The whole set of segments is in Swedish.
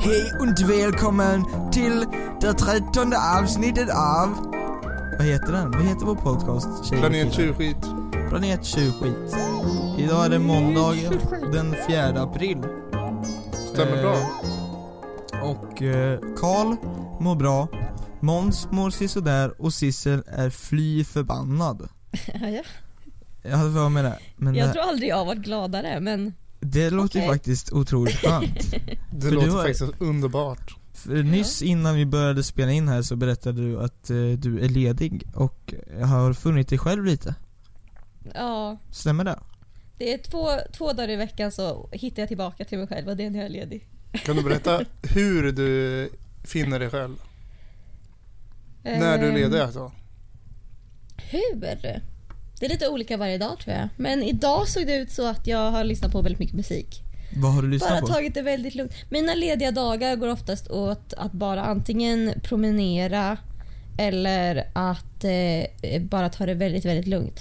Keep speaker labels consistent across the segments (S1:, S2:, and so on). S1: Hej och välkommen till det trettonde avsnittet av... Vad heter den? Vad heter vår podcast? tjejer och
S2: Planet
S1: killar?
S2: Tjurskit.
S1: Planet Tjurskit. Idag är det måndag den 4 april.
S2: Stämmer
S1: Eh,
S2: bra.
S1: Och eh, Karl mår bra, Måns mår sisådär och Sissel är fly förbannad.
S3: Ja, ja.
S1: Jag hade för mig det,
S2: eh,
S1: men
S3: Jag
S1: det,
S3: tror aldrig jag har varit gladare men
S1: det låter ju
S3: Okej.
S1: faktiskt otroligt skönt.
S2: Det
S1: för
S2: låter
S1: du har-
S2: faktiskt underbart.
S1: För nyss innan vi började spela in här så berättade du att eh, du är ledig och har funnit dig själv lite.
S3: ja.
S1: Stämmer det?
S3: Det är två, två dagar i veckan så hittar jag tillbaka till mig själv och det är när jag är ledig.
S2: Kan du berätta hur du finner dig själv? När du är
S3: Ehm,
S2: ledig alltså?
S3: Eh, Hur? Det är lite olika varje dag tror jag. Men idag såg det ut så att jag har lyssnat på väldigt mycket musik.
S1: Vad har du lyssnat
S3: Bara
S1: på?
S3: tagit det väldigt lugnt. Mina lediga dagar går oftast åt att bara antingen promenera eller att eh, bara ta det väldigt, väldigt lugnt.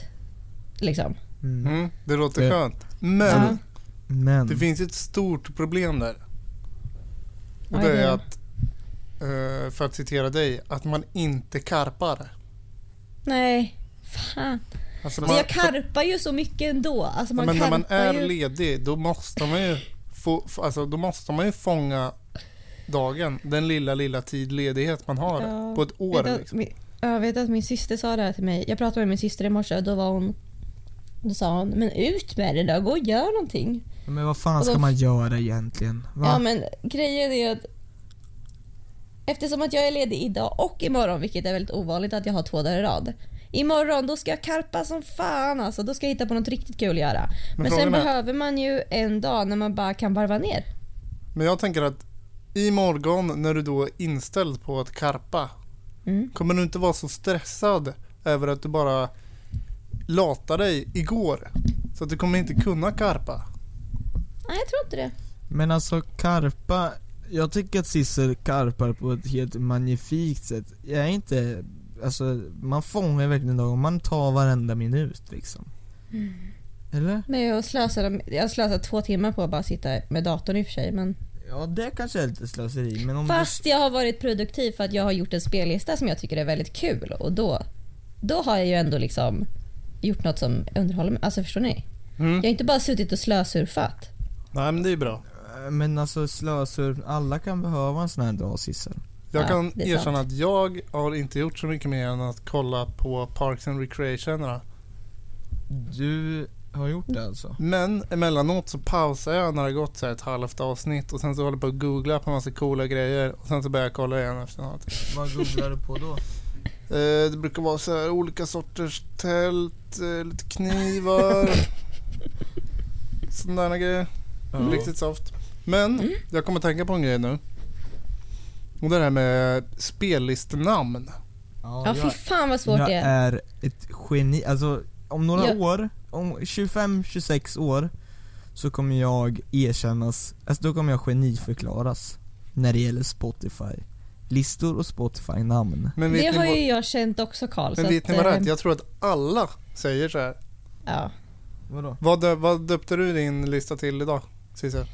S3: Liksom.
S1: Mm.
S2: Mm, det låter
S1: Eh,
S2: skönt. Men
S3: Ja.
S1: Men,
S2: det finns ett stort problem där. Och
S3: Vad
S2: det
S3: är
S2: är
S3: det?
S2: att, eh, för att citera dig, att man inte karpar.
S3: Nej, fan.
S2: Alltså
S3: Men jag karpar ju så mycket ändå. Alltså man
S2: men när man
S3: karpar
S2: är
S3: ju...
S2: ledig då måste man ju få, få- alltså, då måste man ju fånga dagen, den lilla, lilla tid ledighet man har
S3: Ja.
S2: på ett år.
S3: Vet att
S2: Liksom.
S3: min- Jag vet att min syster sa det här till mig. Jag pratade med min syster i morse och då var hon... Då sa hon, men ut med det då, gå och gör någonting.
S1: men vad fan
S3: Och
S1: ska
S3: de-
S1: man göra egentligen? Va?
S3: Ja men grejen är att eftersom att jag är ledig idag och imorgon, vilket är väldigt ovanligt att jag har två dagar i rad. Imorgon då ska jag karpa som fan alltså. Då ska jag hitta på något riktigt kul att göra. Men, sen
S2: frågan är-
S3: behöver man ju en dag när man bara kan varva ner.
S2: Men jag tänker att i morgon när du då är inställd på att karpa
S3: Mm.
S2: kommer du inte vara så stressad över att du bara latar dig igår. Så att du kommer inte kunna karpa.
S3: Nej jag tror inte det.
S1: Men alltså karpa, jag tycker att Sissel karpar på ett helt magnifikt sätt. Jag är inte, alltså man fångar verkligen dagen, man tar varenda minut liksom.
S3: Mm.
S1: Eller?
S3: Men jag slösade, jag slösade två timmar på att bara sitta med datorn i och för sig. Men...
S1: Ja det kanske är lite slöseri men om
S3: Fast jag har varit produktiv för att jag har gjort en spellista som jag tycker är väldigt kul. Och då, då har jag ju ändå liksom gjort något som underhåller mig. Alltså förstår ni?
S2: Mm.
S3: Jag har inte bara suttit och slösurfat.
S2: Nej men det är bra.
S1: du, Men alltså slösur, alla kan behöva en sån här dag Sissel.
S2: Jag
S3: Ja,
S2: kan
S3: det är
S2: erkänna att jag har inte gjort så mycket mer än att kolla på Parks and Recreation. då.
S1: Du har gjort det alltså?
S2: Men emellanåt så pausar jag när det har gått så här ett halvt avsnitt och sen så håller jag på att googla på en massa coola grejer och sen så börjar jag kolla igen efteråt.
S1: Vad googlar du på då?
S2: Eh, det brukar vara så här olika sorters tält, eh, lite knivar, sådana där grejer. Riktigt soft. Men
S3: Mm.
S2: jag kommer att tänka på en grej nu. Och det här med spellistenamn.
S3: Ja, fy fan vad svårt
S1: jag eh,
S3: det är.
S1: är ett geni, alltså om några
S3: Jag-
S1: år, om 25-26 år Så kommer jag erkännas, alltså då kommer jag geniförklaras När det gäller Spotify Listor och Spotify-namn
S2: Men vet
S3: Det
S2: ni
S3: har
S2: vad,
S3: ju jag känt också Karl.
S2: men
S3: så
S2: vet ni
S3: att,
S2: vad det är?
S3: eh,
S2: Jag tror att alla säger så här.
S3: ja.
S1: Vadå?
S2: Vad, dö- vad döpte du din lista till idag? Sissel?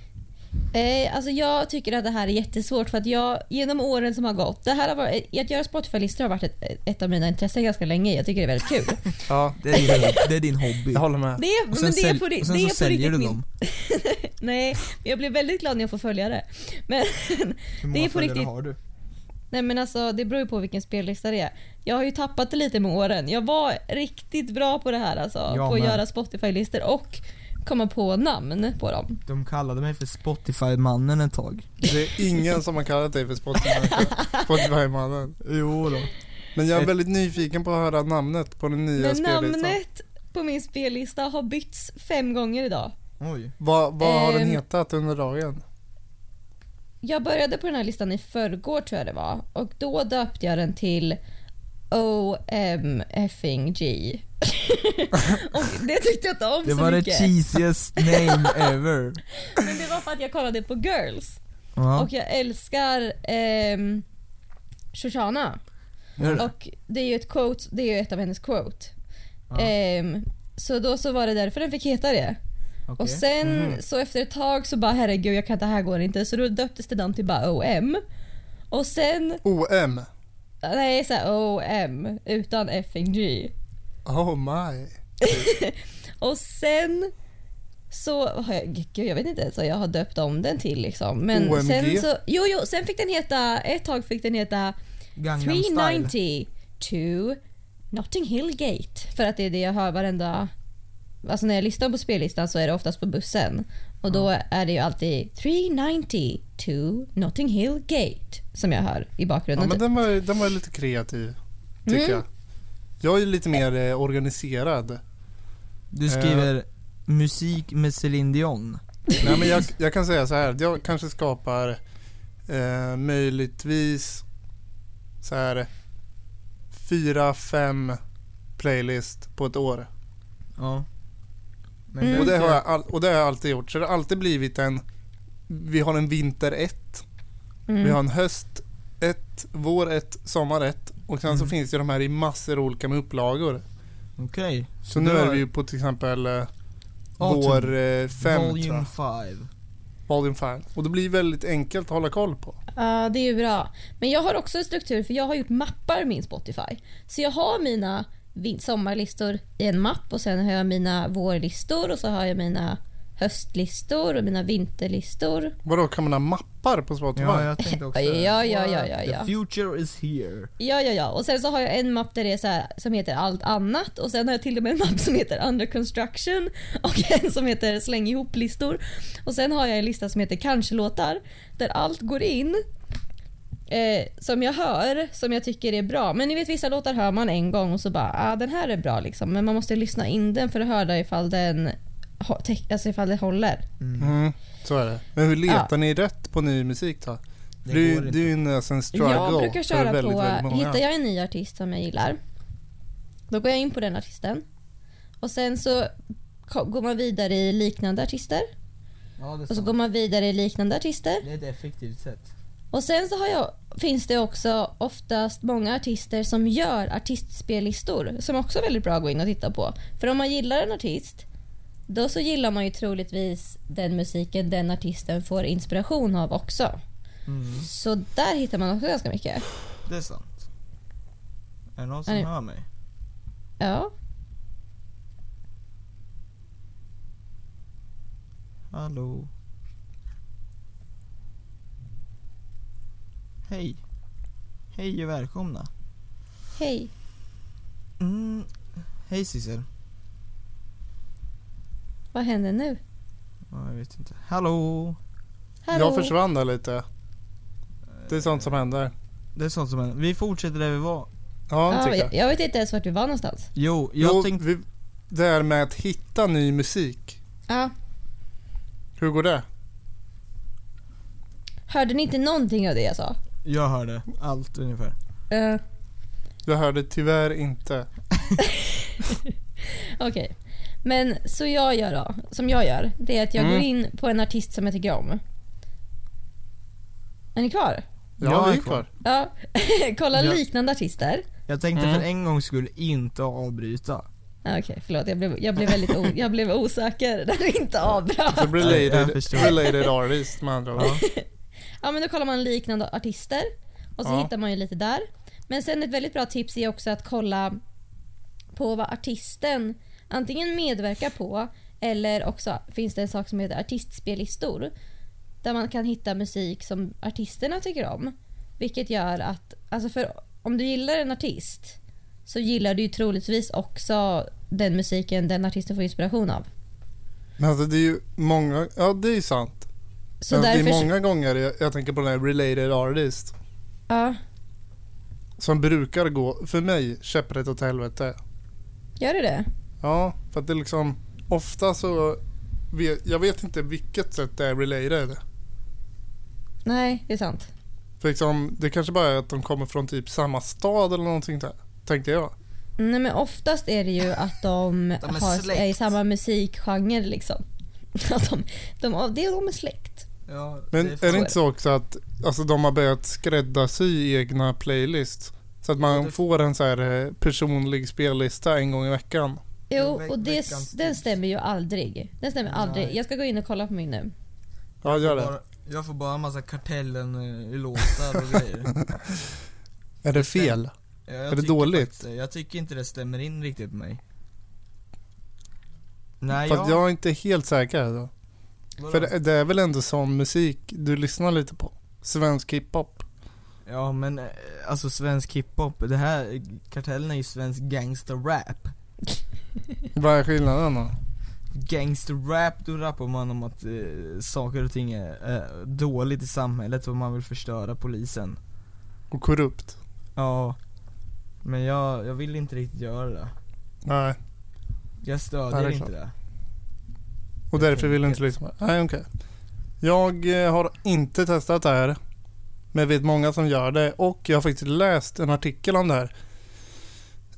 S3: Eh, alltså jag tycker att det här är jättesvårt för att jag genom åren som har gått, det här har varit, eh, att göra Spotify-listor har varit ett, ett av mina intressen ganska länge. Jag tycker det är väldigt kul.
S2: Ja,
S1: Det är din, det är din hobby
S2: jag håller med.
S3: Det är, men
S1: och
S3: det
S1: sen,
S3: är
S1: sälj,
S3: på, ri-
S1: och sen
S3: det
S1: så
S3: är på
S1: säljer du
S3: riktigt min
S1: dem
S3: Nej, men jag blir väldigt glad när jag får följare. Men,
S1: Hur
S3: många är på följare riktigt-
S1: har du?
S3: nej men alltså, det beror ju på vilken spellista det är. Jag har ju tappat det lite med åren. Jag var riktigt bra på det här alltså.
S1: Jag
S3: på att
S1: med.
S3: göra Spotify-listor och komma på namn på dem.
S1: De kallade mig för Spotify-mannen ett tag
S2: Det är ingen som har kallat dig för Spotify- Spotify-mannen.
S1: Jo då.
S2: Men jag är väldigt nyfiken på att höra namnet på den nya
S3: Men
S2: spellistan.
S3: namnet på min spellista har bytts fem gånger idag.
S1: Oj
S2: Vad, vad har den
S3: Ehm.
S2: hetat under dagen?
S3: Jag började på den här listan i förrgår tror jag det var och då döpte jag den till OMFG. och det tyckte jag inte om
S1: Det
S3: så
S1: var det
S3: mycket.
S1: cheesiest name ever
S3: Men det var för att jag kollade på Girls
S1: ja.
S3: och jag älskar ehm, Shoshana.
S1: Gör-
S3: Och det är ju ett quote, det är ju ett av hennes quote.
S1: Ja.
S3: Ehm, så då så var det därför den fick heta det.
S1: Okej.
S3: Och sen
S2: Mhm.
S3: så efter ett tag så bara herregud jag kan inte, det här går inte. Så då döptes det den till bara OM. Och sen,
S2: OM.
S3: nej såhär OM utan effing G.
S2: Oh my.
S3: Och sen så har jag, gud jag vet inte ens vad jag har döpt om den till liksom. Men
S2: OMG?
S3: sen så, jo jo sen fick den heta, ett tag fick den heta
S1: Gangnam style.
S3: 390 to Notting Hill Gate. För att det är det jag hör varenda... Alltså när jag lyssnar på spellistan så är det oftast på bussen. Och då är det ju alltid 390 to Notting Hill Gate som jag hör i
S2: Ja,
S3: bakgrunden.
S2: men den var, den var lite kreativ, tycker
S3: Mm.
S2: jag. Jag är lite mer eh, organiserad. Eh.
S1: Du skriver musik med Céline Dion.
S2: Nej, men jag, jag kan säga så här. Jag kanske skapar eh, möjligtvis så här fyra, fem playlist på ett år.
S1: Ja. Men
S3: Mm.
S2: Och, det har jag all, och det har jag alltid gjort. Så det har alltid blivit en... Vi har en vinter ett,
S3: Mm.
S2: vi har en höst ett, vår ett, sommar ett och sen så
S1: Mm.
S2: finns det de här i massor olika med upplagor.
S1: Okej.
S2: Så nu
S1: du
S2: är
S1: har-
S2: vi ju på till exempel eh,
S1: Autumn.
S2: vår eh, fem, tror jag.
S1: Volume 5.
S2: Volume 5. Och det blir väldigt enkelt att hålla koll på.
S3: Ja, det är ju bra. Men jag har också en struktur för jag har gjort mappar i min Spotify. Så jag har mina vin- sommarlistor i en mapp och sen har jag mina vårlistor och så har jag mina höstlistor och mina vinterlistor.
S2: Vadå, kan man ha mappar på Spotify?
S1: Ja, jag tänkte också det.
S3: Ja, ja, ja, ja,
S1: What?
S3: ja.
S1: The future is here.
S3: Ja, ja, ja. Och sen så har jag en mapp där det är så här, som heter allt annat och sen har jag till och med en mapp som heter under construction och en som heter släng ihop-listor. Och sen har jag en lista som heter kanske-låtar där allt går in eh, som jag hör, som jag tycker är bra. Men ni vet vissa låtar hör man en gång och så bara ah, den här är bra liksom. Men man måste lyssna in den för att höra ifall den, hå- täck- alltså ifall det håller.
S2: Mm, så är det. Men hur letar ni rätt på ny musik då? Det,
S1: Det
S2: är ju-
S1: går
S2: det är ju en, alltså en struggle
S3: Jag brukar
S2: för
S3: köra
S2: väldigt,
S3: på,
S2: väldigt många.
S3: hittar jag en ny artist som jag gillar, då går jag in på den artisten. Och sen så ko- går man vidare i liknande artister.
S1: Ja, det är
S3: Och så
S1: sant.
S3: går man vidare i liknande artister.
S1: Det är ett effektivt sätt.
S3: Och sen så har jag, finns det också oftast många artister som gör artistspellistor som också är väldigt bra att gå in och titta på. För om man gillar en artist, då så gillar man ju troligtvis den musiken den artisten får inspiration av också.
S1: Mm.
S3: Så där hittar man också ganska mycket.
S1: Det är sant. Är det någon som
S3: Nej.
S1: hör mig?
S3: Ja.
S1: Hallå? Hej. Hej och välkomna.
S3: Hej.
S1: Mm. Hej Sissel.
S3: Vad händer nu?
S1: Ja, jag vet inte. Hallå?
S3: Hallå?
S2: Jag försvann där lite. Det är sånt som händer.
S1: Det är sånt som händer. Vi fortsätter där vi var.
S2: Ja,
S3: Ja,
S2: tycker jag.
S3: jag, jag vet inte ens vart vi var någonstans.
S1: Jo, jag
S2: jo,
S1: tänkte...
S2: vi, det här med att hitta ny musik.
S3: Ja.
S2: Hur går det?
S3: Hörde ni inte någonting av det jag sa?
S1: Jag hörde allt ungefär.
S3: Eh,
S2: Jag hörde tyvärr inte.
S3: Okej. Men så jag gör då, som jag gör, det är att jag
S2: Mm.
S3: går in på en artist som jag tycker om. Är ni kvar?
S2: Ja,
S1: Jag
S2: vi
S1: är
S2: är kvar.
S3: Ja. Kolla
S1: Ja.
S3: liknande artister.
S1: Jag tänkte
S2: Mm.
S1: för en gångs skull inte avbryta.
S3: Ja, Ah, Okej, förlåt. Jag blev, jag blev väldigt o, jag blev osäker. Det är inte avbra.
S2: Så
S1: Jag
S2: related,
S1: förstår.
S2: related artist med andra ord.
S3: Ja, men då kollar man liknande artister och så
S2: Ja.
S3: hittar man ju lite där. Men sen ett väldigt bra tips är också att kolla på vad artisten antingen medverkar på eller också finns det en sak som heter artistspellistor där man kan hitta musik som artisterna tycker om. Vilket gör att, alltså för om du gillar en artist så gillar du ju troligtvis också den musiken den artisten får inspiration av.
S2: Men alltså det är ju många, ja det är ju sant.
S3: Så
S2: Men Det
S3: därför...
S2: är många gånger jag, jag tänker på den här related artist
S3: Ja,
S2: som brukar gå, för mig, käpprätt åt helvete.
S3: gör du det?
S2: Ja, för att det är liksom, ofta så, vet, jag vet inte vilket sätt det är related.
S3: Nej, det är sant.
S2: För liksom, det kanske bara är att de kommer från typ samma stad eller någonting där, tänkte jag.
S3: Nej men oftast är det ju att de,
S1: De är
S3: har,
S1: släkt.
S3: är i samma musikgenre liksom. Att de, de, de, de, de är släkt.
S1: Ja,
S2: Men
S1: det
S2: är, det inte så också att alltså, de har börjat skräddarsy egna playlists? Så att man
S1: Ja, det-
S2: får en så här eh, personlig spellista en gång i veckan.
S3: Jo,
S1: Ve-
S3: och det,
S1: veckans
S3: den
S1: tips.
S3: stämmer ju aldrig. Den stämmer aldrig.
S1: Nej.
S3: Jag ska gå in och kolla på min nu.
S2: Ja, gör det.
S1: Bara, jag får bara en massa Kartellen-låtar och grejer.
S2: Är det fel?
S1: Ja, jag
S2: Är det
S1: tycker
S2: dåligt?
S1: faktiskt det. jag tycker inte det stämmer in riktigt på mig. Nej,
S2: För att jag är inte helt säker. Då.
S1: vadå?
S2: För det, det är väl ändå sån musik du lyssnar lite på? Svensk hiphop?
S1: Ja men eh, alltså svensk hiphop, det här, Kartellen är ju svensk gangsterrap.
S2: Vad är skillnaden då?
S1: Gangsterrap, då rappar man om att eh, saker och ting är eh, dåligt i samhället och man vill förstöra polisen.
S2: Och korrupt?
S1: Ja. Men jag, jag vill inte riktigt göra det.
S2: Nej.
S1: Jag
S2: Ja,
S1: stödjer
S2: det är
S1: inte
S2: klart.
S1: det.
S2: Och därför vill du inte lyssna? Nej, okej. Jag eh, har inte testat det här. Men jag vet många som gör det. Och jag har faktiskt läst en artikel om det här.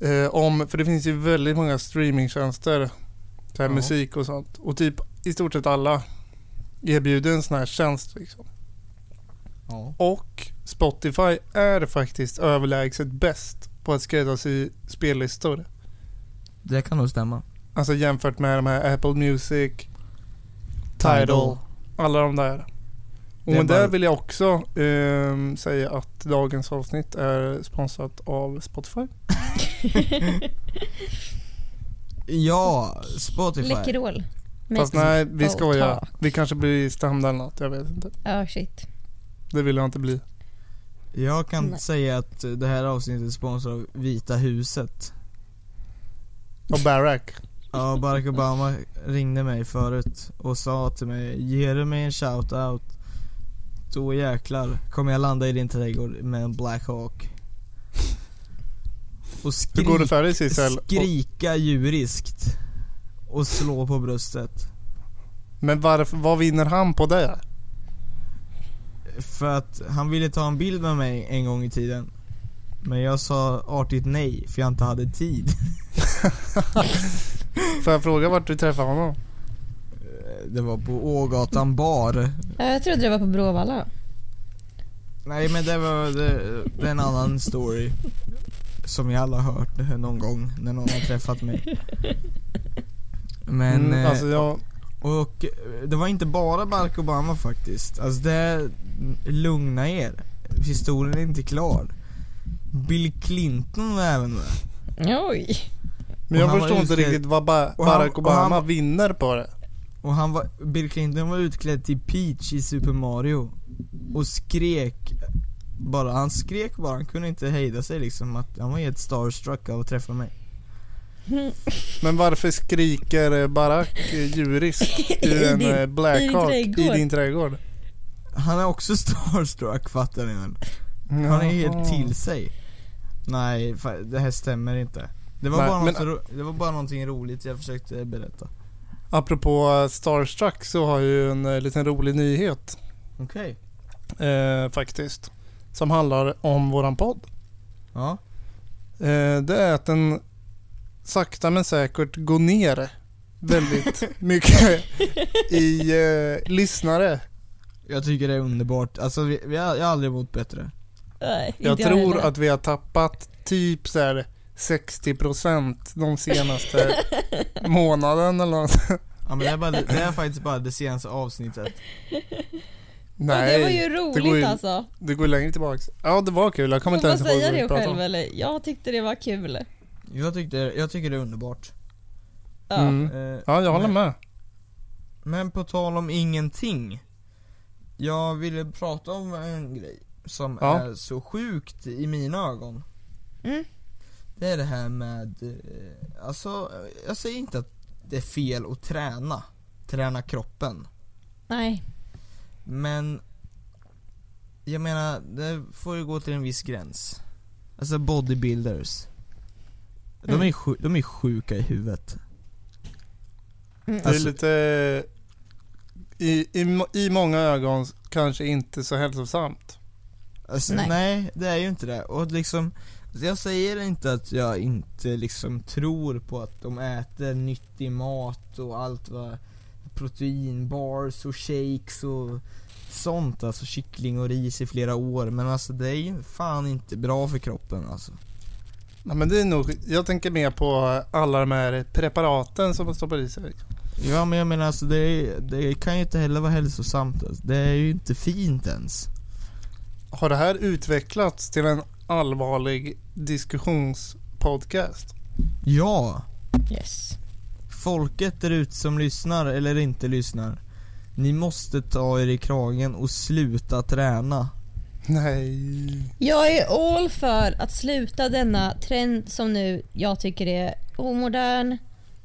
S2: Eh, om, för det finns ju väldigt många streamingtjänster. Så här
S1: Ja.
S2: musik och sånt. Och typ i stort sett alla erbjuder en sån här tjänst. Liksom.
S1: Ja.
S2: Och Spotify är faktiskt överlägset bäst på att skräddarsy spellistor.
S1: Det kan nog stämma.
S2: Alltså jämfört med de här Apple Music, Tidal, alla de där. Och
S1: Det är
S2: med
S1: bara-
S2: det vill jag också ehm, säga att dagens avsnitt är sponsrat av Spotify.
S1: Ja, Spotify.
S3: Läkerol.
S2: Fast
S3: Med-
S2: nej, vi
S3: och
S2: skojar.
S3: tak.
S2: Vi kanske blir stämda eller något, jag vet inte.
S3: Ja, shit.
S2: Det vill jag inte bli.
S1: Jag kan
S3: Nej.
S1: säga att eh, det här avsnittet är sponsrat av Vita huset.
S2: Och Barack.
S1: Ja, Barack Obama ringde mig förut och sa till mig Ger du mig en shout-out Då jäklar kommer jag landa i din trädgård med en Black Hawk Och
S2: Hur går det
S1: skrik,
S2: för dig Sissel? Och-
S1: skrika djuriskt Och slå på bröstet
S2: Men varför, vad vinner han på det?
S1: För att han ville ta en bild med mig en gång i tiden Men jag sa artigt nej för jag inte hade tid
S2: Får jag fråga vart du träffade honom?
S1: Det var på Ågatan bar
S3: Ja, jag trodde det var på Bråvalla.
S1: Nej men det var det, det är en annan story Som jag alla har hört någon gång när någon har träffat mig Men,
S2: mm,
S1: eh,
S2: alltså jag,
S1: och eh, det var inte bara Barack Obama faktiskt Alltså det, lugna er Historien är inte klar Bill Clinton var även med
S3: Oj.
S2: men
S1: och han var
S2: jag förstår inte
S1: utklädd-
S2: riktigt vad ba-
S1: och han-
S2: Barack
S1: och han-
S2: Obama vinner på det.
S1: Och han var, Bill Clinton var utklädd till Peach i Super Mario Och skrek bara, han skrek bara, han kunde inte hejda sig liksom att Han var helt starstruck av att träffa mig
S2: Men varför skriker eh, Barack eh, djuriskt ur
S3: I
S2: en
S3: din-
S2: eh, Black
S3: i din
S2: Hawk i
S3: trädgård.
S2: din trädgård?
S1: Han är också starstruck fattar ni väl? Han är helt till sig Nej, fa- det här stämmer inte det var,
S2: Nej,
S1: bara
S2: men-
S1: något ro- det var bara någonting roligt jag försökte berätta
S2: Apropå eh, Starstruck så har jag ju en eh, liten rolig nyhet
S1: Okej,
S2: eh, faktiskt. Som handlar om våran podd.
S1: ja
S2: Eh, det är att den sakta men säkert går ner väldigt mycket i eh, lyssnare.
S1: Jag tycker det är underbart, alltså vi, vi har, jag har aldrig mått bättre
S3: Nej,
S2: Jag
S3: inte
S2: tror
S3: heller.
S2: att vi har tappat typ så här 60% de senaste månaden eller något.
S1: Ja men det är, bara, det är faktiskt bara det senaste avsnittet
S3: Och det var
S2: Nej,
S3: ju roligt
S2: det går ju-
S3: alltså.
S2: det går längre tillbaks. Ja, det var kul. Jag kommer
S3: Får
S2: inte ens ihåg
S3: man säga
S2: vad vi
S3: det
S2: pratade
S3: själv
S2: om.
S3: eller? Jag tyckte det var kul.
S1: Jag, tyckte, jag tycker det är underbart
S3: Ja.
S2: Mm.
S1: eh,
S2: Ja, jag håller med.
S1: Men på tal om ingenting. Jag ville prata om en grej som
S2: Ja.
S1: är så sjukt i mina ögon.
S3: Mm.
S1: Det är det här med, eh, alltså jag säger inte att det är fel att träna. Träna kroppen.
S3: Nej.
S1: Men jag menar, det får ju gå till en viss gräns. Alltså bodybuilders. De är,
S3: Mm.
S1: sju- de är sjuka i huvudet.
S3: Mm.
S2: Det är
S1: Alltså-
S2: lite... I, i, må- I många ögon kanske inte så hälsosamt.
S1: Alltså, nej.
S3: Nej.
S1: det är ju inte det. Och liksom, jag säger inte att jag inte liksom tror på att de äter nyttig mat och allt vad proteinbars och shakes och sånt alltså kyckling och ris i flera år men alltså det är ju fan inte bra för kroppen alltså.
S2: Ja, men det är nog, jag tänker mer på alla de här preparaten som man stoppar i sig.
S1: Ja men jag menar alltså det, är- det kan ju inte heller vara hälsosamt. Alltså. Det är ju inte fint ens.
S2: Har det här utvecklats till en allvarlig diskussionspodcast?
S1: Ja!
S3: Yes.
S1: Folket där ute som lyssnar eller inte lyssnar. Ni måste ta er i kragen och sluta träna.
S2: Nej.
S3: Jag är all för att sluta denna trend som nu jag tycker är omodern.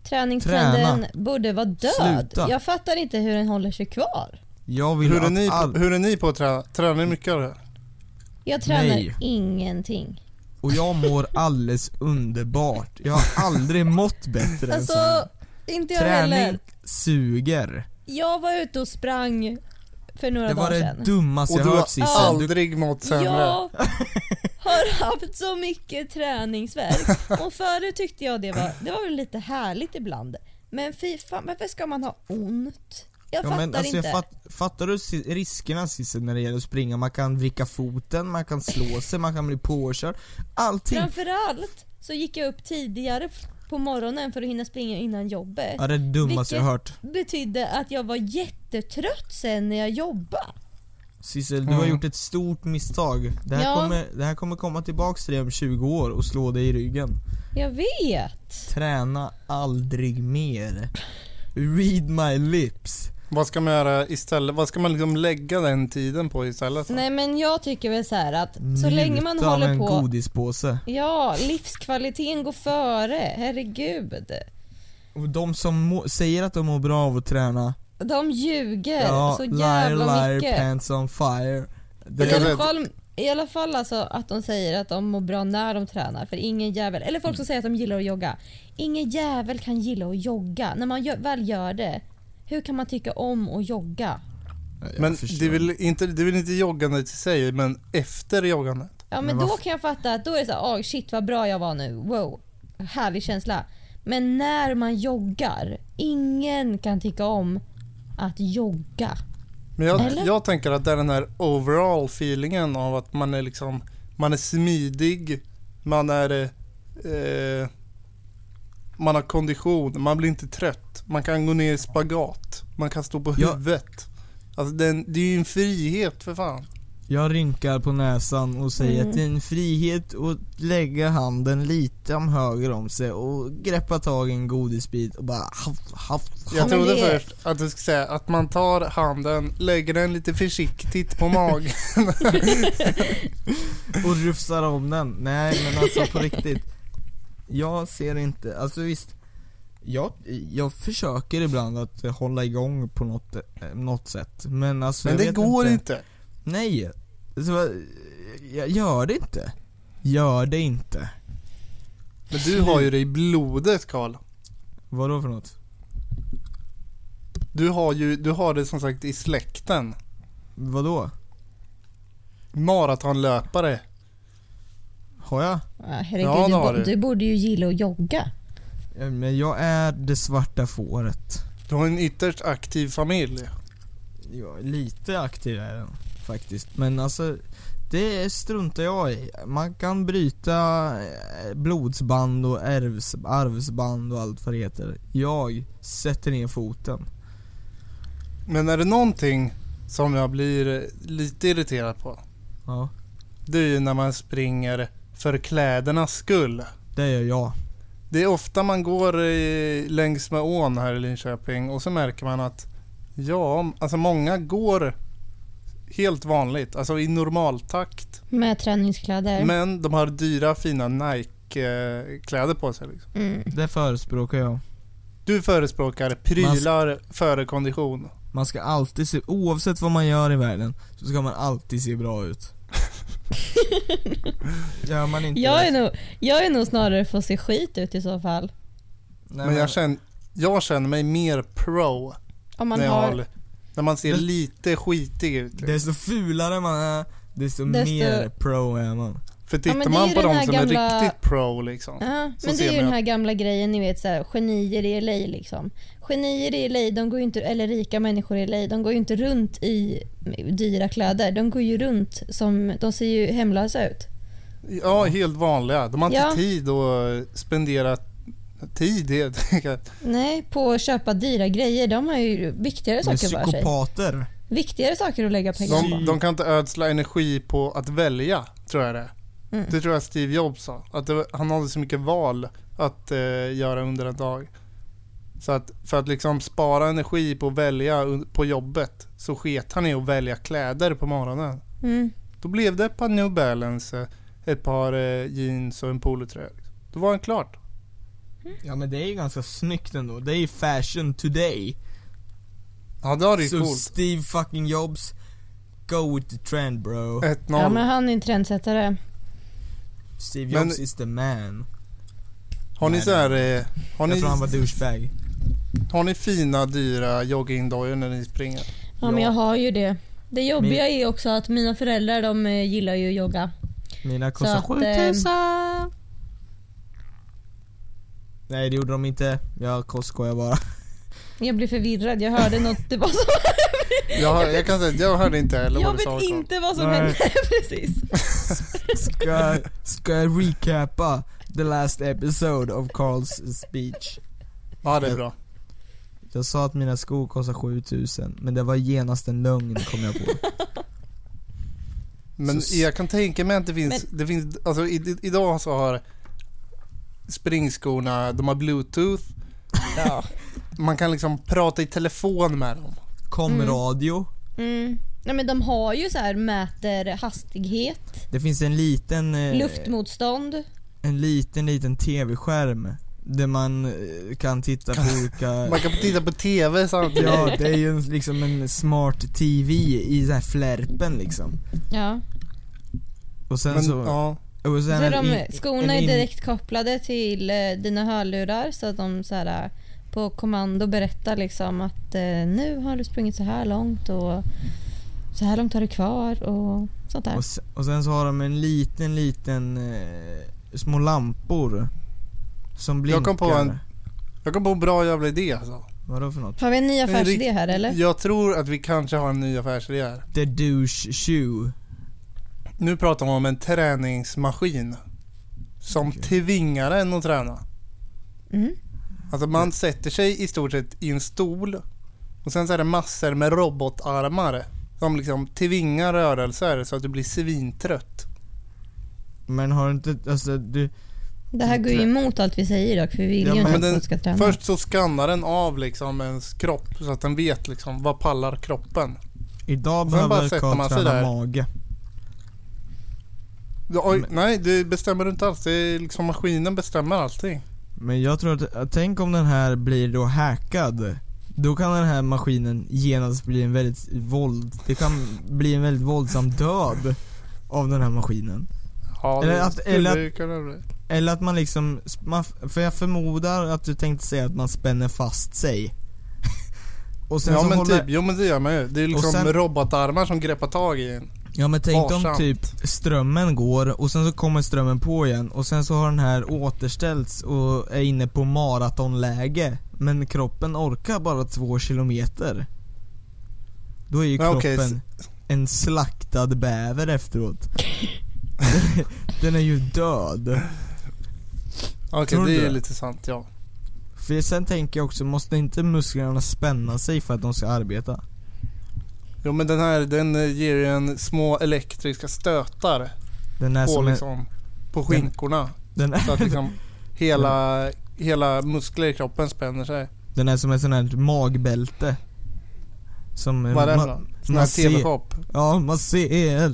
S3: Träningstrenden
S1: Träna.
S3: borde vara död.
S1: Sluta.
S3: Jag fattar inte hur den håller sig kvar.
S1: Jag vill
S2: Hur är,
S1: att
S2: ni,
S1: all... Alltså,
S2: hur är ni på att träna? Tränar ni mycket av det här?
S3: Jag tränar
S1: Nej.
S3: ingenting.
S1: Och jag mår alldeles underbart. Jag har aldrig mått bättre än så här.
S3: Alltså, inte jag heller.
S1: Träning suger.
S3: Jag var ute och sprang för några
S1: Det var
S3: dagar
S1: det
S3: sedan.
S1: dummaste
S2: Och
S1: jag
S2: du
S1: hört
S2: har
S1: Sissel. Du,
S2: aldrig mått sämre?
S3: Jag har haft så mycket träningsvärk och förut tyckte jag det var, det var väl lite härligt ibland. Men fy fan, varför ska man ha ont? Jag
S1: ja,
S3: fattar
S1: men, alltså,
S3: inte.
S1: jag fatt, fattar du si- riskerna Sissel när det gäller att springa? Man kan vricka foten, man kan slå sig, man kan bli påkörd. Allting.
S3: Framförallt så gick jag upp tidigare på morgonen för att hinna springa innan jobbet.
S1: Ja, det är det dummaste jag
S3: Vilket-
S1: hört.
S3: Betydde att jag var jättetrött sen när jag jobbade.
S1: Sissel, du har
S2: Mm.
S1: gjort ett stort misstag. Det här,
S3: Ja.
S1: kommer, det här kommer komma tillbaks till dig om 20 år och slå dig i ryggen.
S3: Jag vet.
S1: Träna aldrig mer. Read my lips.
S2: Vad ska man göra istället? Vad ska man liksom lägga den tiden på istället?
S3: Nej men jag tycker väl så här att så länge man
S1: Njuta av
S3: håller
S1: en
S3: på
S1: godispåse.
S3: Ja, livskvaliteten går före, herregud.
S1: Och de som må, säger att de mår bra av att träna,
S3: De ljuger
S1: ja,
S3: Eh, så
S1: liar,
S3: jävla
S1: liar,
S3: mycket.
S1: pants on fire. Det,
S2: Jag
S3: I
S2: kan
S3: alla,
S2: säga-
S3: fall, I alla fall alltså att de säger att de mår bra när de tränar för ingen jävel, eller folk som säger att de gillar att jogga. Ingen jävel kan gilla att jogga. När man gö- väl gör det, hur kan man tycka om att jogga?
S1: Jag
S2: Men
S1: förstår.
S2: det är, väl inte, det är väl inte joggandet i sig, men efter joggandet?
S3: Ja men,
S1: Men
S3: då
S1: varför-
S3: kan jag fatta att då är det så här, "Åh, shit vad bra jag var nu, wow. Härlig känsla. Men när man joggar, ingen kan tycka om att jogga.
S2: Men jag,
S3: Eller?
S2: jag tänker att det är den här overall feelingen av att man är liksom, man är smidig, man är, eh, man har kondition, man blir inte trött, man kan gå ner i spagat, man kan stå på
S1: Ja.
S2: huvudet. Alltså den, det är ju en frihet för fan.
S1: Jag rynkar på näsan och säger
S3: Mm.
S1: att det är en frihet att lägga handen lite om höger om sig och greppa tag i en godisbit och bara haff, haff,
S2: Jag
S1: haff.
S3: Ja, men
S2: trodde
S3: det är-
S2: först att du skulle säga att man tar handen, lägger den lite försiktigt på magen.
S1: och rufsar om den. Nej men alltså på riktigt. Jag ser inte, alltså visst. Jag, jag försöker ibland att hålla igång på något, eh, något sätt men alltså
S2: Men
S1: jag
S2: det
S1: vet
S2: går
S1: inte.
S2: inte.
S1: Nej. Så, eh, jag gör det inte. Gör det inte.
S2: Men du har ju det i blodet Karl.
S1: Vadå för något?
S2: Du har ju, du har det som sagt i släkten.
S1: Vadå?
S2: Maratonlöpare.
S1: Har jag?
S3: Ja, herregud,
S2: Ja, det
S3: du,
S2: har
S3: bo-
S2: du.
S3: du borde ju gilla att jogga.
S1: Ja, Eh, Men jag är det svarta fåret.
S2: Du har en ytterst aktiv familj.
S1: Jag är lite aktiv är den faktiskt. Men alltså, det struntar jag i. Man kan bryta eh, blodsband och ärvs, arvsband och allt vad det heter. Jag sätter ner foten.
S2: Men är det någonting som jag blir eh, lite irriterad på.
S1: Ja,
S2: Det är ju när man springer för klädernas skull.
S1: det gör jag.
S2: Det är ofta man går eh, längs med ån här i Linköping och så märker man att ja, alltså många går helt vanligt, alltså i normaltakt.
S3: Med träningskläder.
S2: Men de har dyra fina Nike-kläder på sig. Liksom.
S3: Mm.
S1: Det förespråkar jag.
S2: Du förespråkar prylar före kondition.
S1: Man ska alltid se, oavsett vad man gör i världen, så ska man alltid se bra ut. gör man inte
S3: Jag, är
S1: det?
S3: nog, jag är nog snarare för att se skit ut i så fall.
S1: Nej,
S2: men
S1: men-
S2: jag känner, jag känner mig mer pro
S3: Om man
S2: när, jag
S3: har,
S2: har, när man ser
S1: Det-
S2: lite skitig ut. liksom.
S1: Desto fulare man är, desto,
S3: Desto-
S1: mer pro är man.
S2: För
S3: men
S2: tittar
S3: det är
S2: man
S3: ju
S2: på
S3: den
S2: de
S3: här
S2: som
S3: gamla-
S2: är riktigt pro liksom.
S3: Ja,
S2: Så
S3: men det
S2: ser
S3: är ju
S2: man
S3: den här gamla grejen ni vet så här, genier i LA liksom. Genier i LA, de går ju inte, eller rika människor i LA, de går ju inte runt i dyra kläder. De går ju runt som, de ser ju hemlösa ut.
S2: Ja, helt vanliga. De har inte
S3: Ja.
S2: tid att spendera tid helt enkelt.
S3: Nej, på att köpa dyra grejer. De har ju viktigare
S1: Men
S3: saker för sig.
S1: psykopater.
S3: Viktigare saker att lägga pengar på.
S2: De, de kan inte ödsla energi på att välja, tror jag det är.
S3: Mm.
S2: Det tror jag Steve Jobs sa. Att det, var- han hade så mycket val att eh, göra under en dag. Så att för att liksom spara energi på att välja un- på jobbet så sket han i att välja kläder på morgonen.
S3: Mm.
S2: Då blev det ett par New Balance, eh, ett par eh, jeans och en polotröja. liksom. Då var han klart.
S1: Ja men det är ju ganska snyggt ändå. Det är ju fashion today.
S2: Ja, det var ju
S1: Så
S2: coolt.
S1: Steve fucking Jobs, go with the trend bro.
S2: 1-0.
S3: Ja, men han är en trendsättare.
S1: Steve
S2: Men-
S1: Jobs is the man.
S2: Har ni
S1: Nej,
S2: så här, eh, har,
S1: Jag
S2: ni,
S1: tror han var douchebag.
S2: har ni fina dyra joggingdojor när ni springer?
S3: Ja, men
S1: Ja.
S3: jag har ju det. Det jobbiga är ju också att mina föräldrar de eh, gillar ju att jogga.
S1: Mina kostar
S3: att, eh,
S1: 7000. Nej det gjorde de inte. Jag kostskojar bara.
S3: Jag blir förvirrad, jag hörde något. Det var så...
S2: Jag, hör, jag kan säga att jag hörde inte heller
S3: Jag
S2: vad du sa.
S3: vet inte vad som
S1: Nej.
S3: hände precis.
S1: Ska, jag- ska jag recapa the last episode of Carls speech?
S2: Ja, det är bra.
S1: Jag sa att mina skor kostar 7000 men det var genast en lögn kom jag på.
S2: Men
S1: Så-
S2: jag kan tänka mig att det finns, det finns alltså i, i, idag så har springskorna, de har bluetooth.
S3: Ja.
S2: Man kan liksom prata i telefon med dem.
S1: Kom radio.
S3: Mm. Nej, men de har ju så här mäter hastighet,
S1: Det finns en liten... eh,
S3: luftmotstånd.
S1: en liten, liten tv-skärm där man eh, kan titta på olika...
S2: Man kan titta på TV samtidigt.
S1: Ja, det är ju en- liksom en smart tv i den här flärpen liksom.
S3: Ja.
S1: Och sen
S2: Men,
S1: så...
S2: ja.
S1: Och sen
S3: Så
S1: en
S3: de,
S1: in-
S3: skorna
S1: en
S3: är
S1: in-
S3: direkt kopplade till eh, dina hörlurar så att de så här, eh, på kommando berättar liksom att eh, nu har du sprungit så här långt och så här långt har du kvar och sånt där.
S1: Och, se- och sen så har de en liten, liten... Eh, små lampor. Som blinkar.
S2: Jag kom på en- Jag kom på en bra jävla idé alltså.
S1: Vadå för något?
S3: Har vi en ny affärsidé
S2: rikt-
S3: här eller?
S2: Jag tror att vi kanske har en ny affärsidé här.
S1: The douche shoe.
S2: Nu pratar man om en träningsmaskin. Som
S1: Okej.
S2: tvingar en att träna.
S3: Mm.
S2: Alltså man sätter sig i stort sett i en stol och sen så är det massor med robotarmar som liksom tvingar rörelser så att du blir svintrött.
S1: Men har du inte, alltså du...
S3: Det här går ju emot allt vi säger dock för vi vill
S1: Ja,
S3: ju
S1: men
S2: den-
S3: inte att folk ska
S1: Mm.
S3: träna.
S2: Först så skannar den av liksom ens kropp så att den vet liksom vad pallar kroppen.
S1: Idag
S2: Sen bara
S1: behöver
S2: sätter
S1: Karl
S2: man sig
S1: träna
S2: där.
S1: mage.
S2: Du, oj,
S1: Men-
S2: nej, det bestämmer du inte alls. Det är liksom maskinen bestämmer allting.
S1: Men jag tror att, att, tänk om den här blir då hackad. Då kan den här maskinen genast bli en väldigt våld, det kan bli en väldigt våldsam död av den här maskinen.
S2: Ja,
S1: Eller
S2: det,
S1: att-
S2: det,
S1: eller att-
S2: det kan det bli.
S1: Eller att man liksom, man, för jag förmodar att du tänkte säga att man spänner fast sig. Och sen
S2: Ja
S1: så
S2: men
S1: håller,
S2: typ, jo men det gör man ju. Det är liksom
S1: sen-
S2: robotarmar som greppar tag i en.
S1: Ja men tänk om
S2: Varsamt.
S1: typ strömmen går och sen så kommer strömmen på igen och sen så har den här återställts och är inne på maratonläge men kroppen orkar bara två kilometer. Då är ju
S2: Ja,
S1: kroppen
S2: okej,
S1: en slaktad bäver efteråt. Den- den är ju död.
S2: Okej,
S1: Tror du
S2: det är ju
S1: det?
S2: lite sant ja.
S1: För sen tänker jag också, måste inte musklerna spänna sig för att de ska arbeta?
S2: Jo men den här den eh, ger ju en små elektriska stötar
S1: Den är
S2: på,
S1: Äh, som en,
S2: liksom, på skinkorna.
S1: den
S2: Så att
S1: är,
S2: liksom hela, hela muskler i kroppen spänner sig.
S1: den är som ett sånt här magbälte. Som eh,
S2: Vad är det
S1: ma-
S2: för något? Sån här
S1: ser-
S2: TV-shop.
S1: Ja, man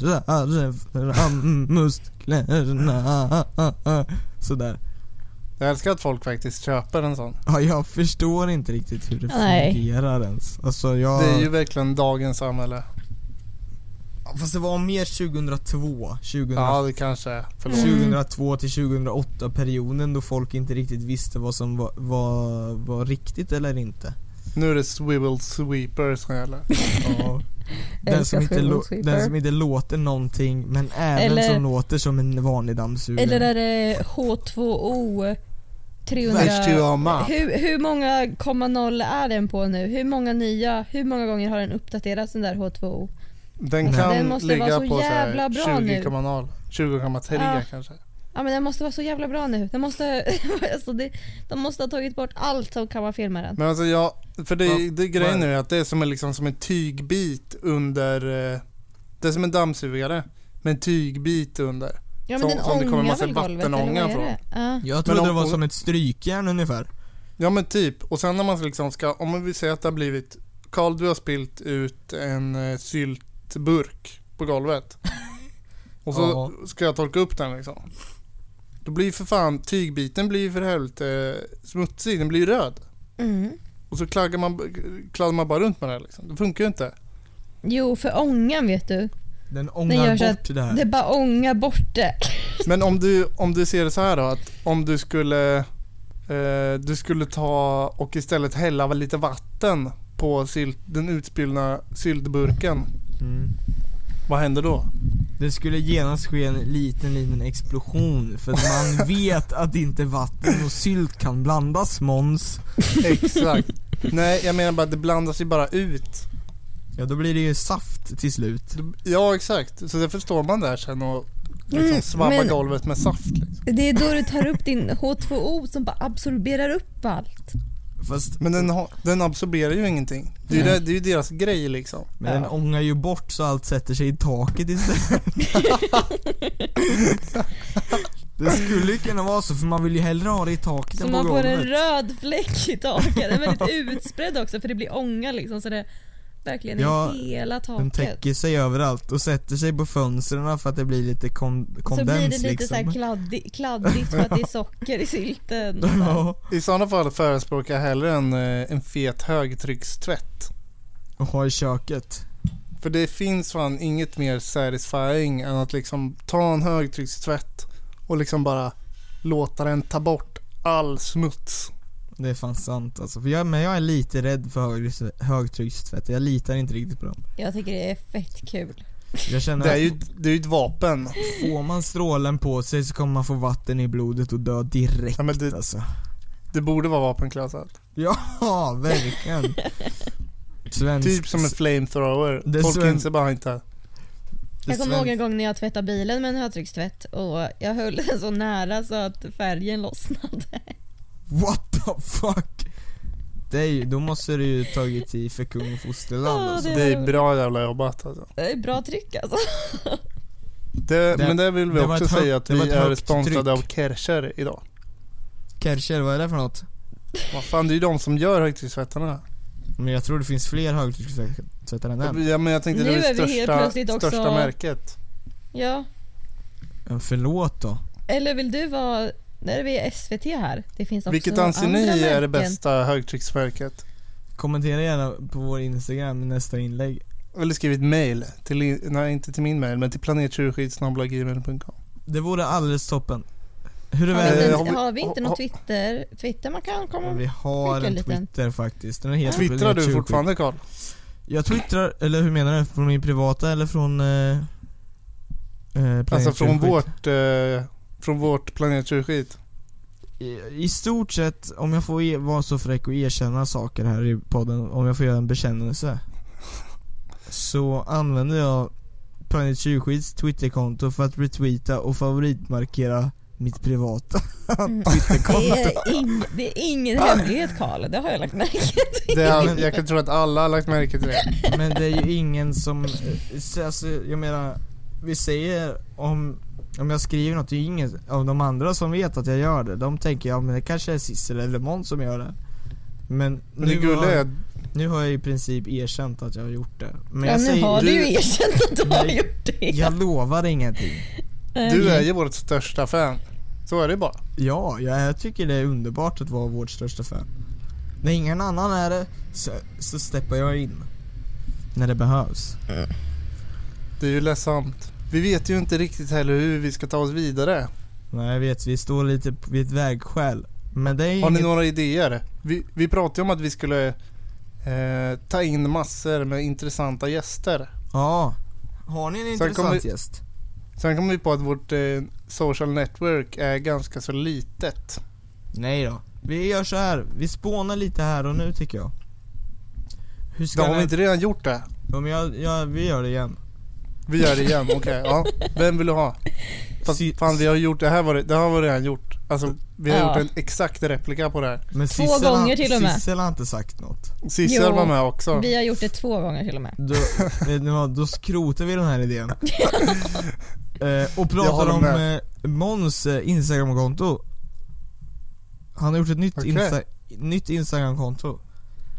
S1: ser fram musklerna. Sådär.
S2: Jag älskar att folk faktiskt köper en sån.
S1: Ja, jag förstår inte riktigt hur det
S3: Nej.
S1: fungerar ens. Alltså jag...
S2: Det är ju verkligen dagens samhälle.
S1: Fast det var mer 2002. 2000...
S2: Ja det kanske är. Förlåt.
S3: Mm.
S1: 2002 till 2008 perioden då folk inte riktigt visste vad som var, var, var riktigt eller inte.
S2: Nu är det swivel sweeper som gäller.
S1: Ja.
S3: Jag
S1: Den,
S3: älskar
S1: som inte lo-
S3: Freelanceweeper.
S1: den som inte låter någonting men även
S3: Eller-
S1: som låter som en vanlig dammsugare.
S3: Eller är det H2O 300...
S2: H2O map.
S3: Hur, hur många komma noll är den på nu? Hur många nya, hur många gånger har den uppdaterats den där H2O?
S2: Den
S1: Nej.
S2: kan
S3: Den måste
S2: ligga
S3: vara så
S2: på så här
S3: jävla bra nu.
S2: 20,0. 20,3
S3: Ja.
S2: kanske.
S3: Ja men den måste vara så jävla bra nu. Den måste, alltså det, de måste ha tagit bort allt som kan vara fel med den.
S2: Men alltså jag, för det,
S1: Vad-
S2: det grejen
S1: vad-
S2: nu är att det är som en, liksom, som en tygbit under, eh, det är som en dammsugare med en tygbit under.
S3: Ja men
S2: Som-
S3: den
S2: som det kommer
S3: ångar
S2: massa
S3: väl golvet eller vad
S2: vattenånga
S3: är det? Ja.
S1: Jag trodde
S2: om-
S1: det var
S2: om-
S1: som ett strykjärn ungefär.
S2: Ja men typ, och sen när man liksom ska, om vi säger att det har blivit, Karl du har spilt ut en eh, syltburk på golvet. Och så ska jag torka upp den liksom. Då blir ju för fan, tygbiten blir ju för helvete smutsig, den blir ju röd.
S3: Mm.
S2: Och så klaggar man, kladdar man bara runt med det här, liksom. Det funkar ju inte.
S3: Jo för ångan vet du.
S1: Den
S3: gör
S1: ångar
S3: så
S1: bort det här.
S3: Det bara ångar bort det.
S2: Men om du, om du ser det så här då, att om du skulle, eh, du skulle ta och istället hälla lite vatten på sylt, den utspillda syltburken.
S1: Mm.
S2: Vad händer då?
S1: Det skulle genast ske en liten, liten explosion för att man vet att inte vatten och sylt kan blandas Måns.
S2: Exakt. Nej, jag menar bara att det blandas ju bara ut.
S1: Ja, då blir det ju saft till slut.
S2: Ja, exakt. Så det förstår man där sen och
S3: Mm,
S2: liksom svabbar
S3: men-
S2: golvet med saft. Liksom.
S3: Det är då du tar upp din H2O som bara absorberar upp allt.
S1: Fast,
S2: Men den, har- den absorberar ju ingenting. Det är ju,
S1: Nej.
S2: det, det är ju deras grej liksom.
S1: men den
S3: Ja.
S1: ångar ju bort så allt sätter sig i taket istället. det skulle ju kunna vara så för man vill ju hellre ha det i taket
S3: Så
S1: än på
S3: man får
S1: golvet.
S3: en röd fläck i taket. Den är väldigt utspridd också för det blir ånga liksom så det verkligen
S1: Ja,
S3: är hela
S1: Den
S3: taket.
S1: täcker sig överallt och sätter sig på fönstren för att det blir lite kon- kondens
S3: Så blir det lite
S1: liksom.
S3: så här kladdi, kladdigt för att det är socker i sylten. och så här.
S1: Ja,
S2: I sådana fall förespråkar jag hellre en, eh, en fet högtryckstvätt.
S1: och ha i köket.
S2: För det finns fan inget mer satisfying än att liksom ta en högtryckstvätt och liksom bara låta den ta bort all smuts.
S1: Det är fan sant alltså. För jag, men jag är lite rädd för hög, högtryckstvätt. Jag litar inte riktigt på dem.
S3: Jag tycker det är fett kul.
S1: Jag känner
S2: Det är
S1: att
S2: ju det är ju ett vapen.
S1: får man strålen på sig så kommer man få vatten i blodet och dö direkt
S2: Ja, men det-
S1: alltså.
S2: Det borde vara vapenklassat.
S1: Ja, verkligen. Svensk,
S2: Typ som en flamethrower.
S1: Det är
S2: Folk
S1: så en-
S2: inser bara inte.
S3: Jag kommer ihåg en
S1: svensk-
S3: gång när jag tvättade bilen med en högtryckstvätt och jag höll den så nära så att färgen lossnade.
S1: What the fuck? Det är ju, då måste du ju tagit i för kung och fosterland
S3: Ja,
S1: alltså.
S2: Det är bra jävla jobbat alltså.
S3: Det är bra tryck alltså.
S2: det,
S1: Det-
S2: Men det vill vi
S1: det var
S2: också
S1: ett högt-
S2: säga att
S1: det var
S2: vi
S1: ett
S2: är
S1: högt
S2: sponsrade av
S1: tryck.
S2: Kärcher idag.
S1: Kärcher, vad är det för något?
S2: Vad fan, det är ju de som gör högtryckstvättarna.
S1: Men jag tror det finns fler högtryckstvättar än den.
S2: Ja, men jag tänkte
S3: Nu
S2: det
S3: är vi
S2: är
S3: helt
S2: det
S3: plötsligt
S2: största,
S3: också-
S2: största märket.
S3: Ja.
S1: Men förlåt då.
S3: Eller vill du vara... Där är vi i SVT här. Det finns också
S2: Vilket anser
S3: andra
S2: ni är det
S3: märken.
S2: bästa högtrycksmärket?
S1: Kommentera gärna på vår Instagram i nästa inlägg.
S2: Eller skrivit mail till, nej inte till min mail, men till planettjurskid.gmail.com
S1: Det vore alldeles toppen. Hur är
S3: Har vi,
S1: väl?
S2: har
S3: inte,
S2: vi-
S3: har vi inte
S2: har-
S3: något Twitter? Twitter man kan komma...
S1: Vi har
S3: Skicka en
S1: en
S3: liten.
S1: Twitter faktiskt. Den är helt
S2: Twittrar du
S1: tjurskit.
S2: fortfarande Karl?
S1: Jag twittrar, eller hur menar du? Från min privata eller från... Eh, eh, Planet
S2: Alltså från
S1: Tjurskit?
S2: vårt, eh, från vårt planettjurskid?
S1: I, I stort sett, om jag får e- vara så fräck och erkänna saker här i podden, om jag får göra en bekännelse. Så använder jag Planet Tjurskits Twitterkonto för att retweeta och favoritmarkera mitt privata.
S3: Mm. Det är, ing, det är ingen hemlighet Karl, det har jag lagt märke till.
S2: Det är, jag kan tro att alla har lagt märke till det.
S1: Men det är ju ingen som, eh, så- alltså, jag menar, vi säger om, om jag skriver något, det är ju ingen av de andra som vet att jag gör det. De tänker ja men det kanske är Sissel eller Måns som gör det. Men,
S2: Men det
S1: nu, har,
S2: gulliga är att
S1: nu har jag i princip erkänt att jag har gjort det. Men
S3: Ja,
S1: jag
S3: nu
S1: säger,
S3: har du ju
S2: du-
S3: erkänt att du har
S1: Nej.
S3: gjort det. Eh,
S1: jag lovar ingenting.
S2: du är ju vårt största fan. Så är det bara.
S1: Ja, jag, jag tycker det är underbart att vara vårt största fan. När ingen annan är det, så, så steppar jag in. När det behövs.
S2: Det är ju ledsamt. Vi vet ju inte riktigt heller hur vi ska ta oss vidare.
S1: Nej jag vet, vi står lite vid ett vägskäl. Men det är
S2: Har ni
S1: inget-
S2: några idéer? Vi, vi pratade ju om att vi skulle eh, ta in massor med intressanta gäster.
S1: Ja. Har ni en intressant
S2: kommer-
S1: gäst?
S2: Sen kom vi på att vårt eh, social network är ganska så litet.
S1: Nej då. Vi gör så här. vi spånar lite här och nu tycker jag. Hur ska
S2: Då har
S1: ni...
S2: vi inte redan gjort det?
S1: Ja, men jag, jag, vi gör det igen.
S2: Vi gör det igen, okej. ja. Vem vill du ha? Fast
S1: Sy-
S2: fan vi har gjort, det här var det, det här var redan gjort. Alltså vi har
S3: Ja.
S2: gjort en exakt replika på det här.
S1: Men
S3: Två
S1: Sissel har-
S3: gånger till och med.
S1: Sissel har inte sagt något.
S2: Sissel
S3: Jo.
S2: var med också.
S3: Vi har gjort det två gånger till och med.
S1: Då, vet ni vad, då skrotar vi den här idén. eh, och
S2: Jag
S1: pratar
S2: håller
S1: om
S2: med.
S1: eh, Måns eh, instagramkonto. Han har gjort ett nytt,
S2: Okej.
S1: insta- nytt instagramkonto.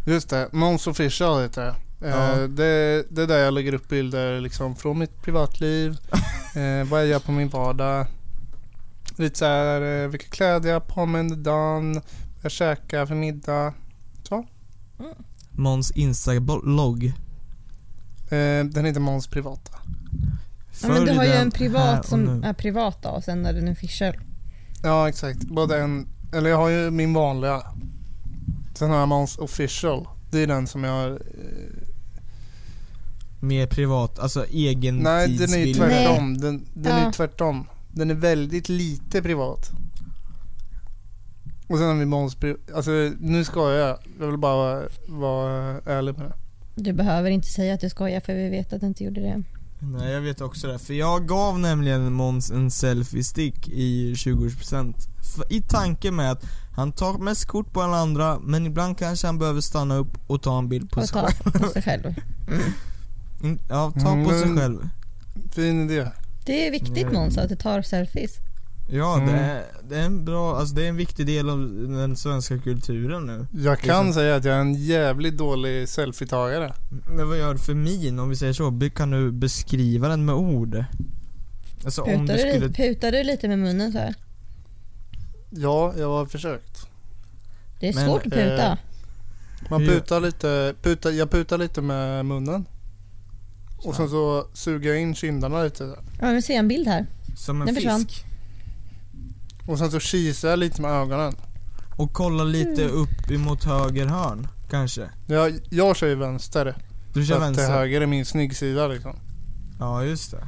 S2: Just det, Måns Official heter det. Eh,
S1: Ja.
S2: det. Det är där jag lägger upp bilder liksom från mitt privatliv, eh, vad jag gör på min vardag. Lite så här, eh, vilka kläder jag har på mig under dagen, vad jag käkar för middag.
S1: Måns instablogg.
S2: Eh, den heter Måns Privata.
S3: Ja, men du
S1: Följ
S3: har ju
S1: den
S3: en
S1: här
S3: privat
S1: och
S3: som
S1: nu.
S3: är privat då, och sen är den official.
S2: Ja exakt, både en, eller jag har ju min vanliga. Sen har jag Måns Official. Det är den som jag har... Eh,
S1: Mer privat, alltså egen
S2: nej, den är ju
S1: tidsbild.
S3: Nej.
S2: tvärtom. Den, den är
S3: Ja.
S2: ju tvärtom. Den är väldigt lite privat. Och sen har vi Måns pri- Alltså nu ska jag. Jag vill bara vara, vara ärlig med det.
S3: Du behöver inte säga att du skojar för vi vet att du inte gjorde det.
S1: Nej jag vet också det, för jag gav nämligen Måns en selfie-stick i 20% F- I tanken med att han tar mest kort på alla andra, men ibland kanske han behöver stanna upp och ta en bild på
S3: Och
S1: sig
S3: ta
S1: själv
S3: på sig själv.
S1: Mm, Ja, ta på
S2: Mm.
S1: sig själv
S2: Fin idé.
S3: Det är viktigt
S1: Mm.
S3: Måns att du tar selfies.
S1: Ja,
S2: Mm.
S1: det, är, det är en bra, alltså det är en viktig del av den svenska kulturen nu
S2: Jag
S1: Det är
S2: kan
S1: så.
S2: säga att jag är en jävligt dålig selfietagare.
S1: Men vad gör du för min, om vi säger så? Be- Kan du beskriva den med ord? Alltså om
S3: Putar
S1: du
S3: du,
S1: skulle,
S3: lite, putar du lite med munnen så här?
S2: Ja, jag har försökt.
S3: Det är
S1: Men,
S3: svårt att puta.
S2: eh, Man
S1: Hur gör-
S2: putar lite, putar, jag putar lite med munnen. Och sen så suger jag in kindarna lite.
S3: ja, men se en bild här.
S1: som en
S3: den försvann.
S1: fisk
S2: Och sen så kisar jag lite med ögonen.
S1: Och kolla lite
S3: Mm.
S1: upp emot höger hörn, kanske?
S2: Jag, jag kör ju vänster.
S1: Du
S2: Så
S1: kör
S2: att till
S1: vänster?
S2: höger är min snyggsida liksom.
S1: Ja, just det.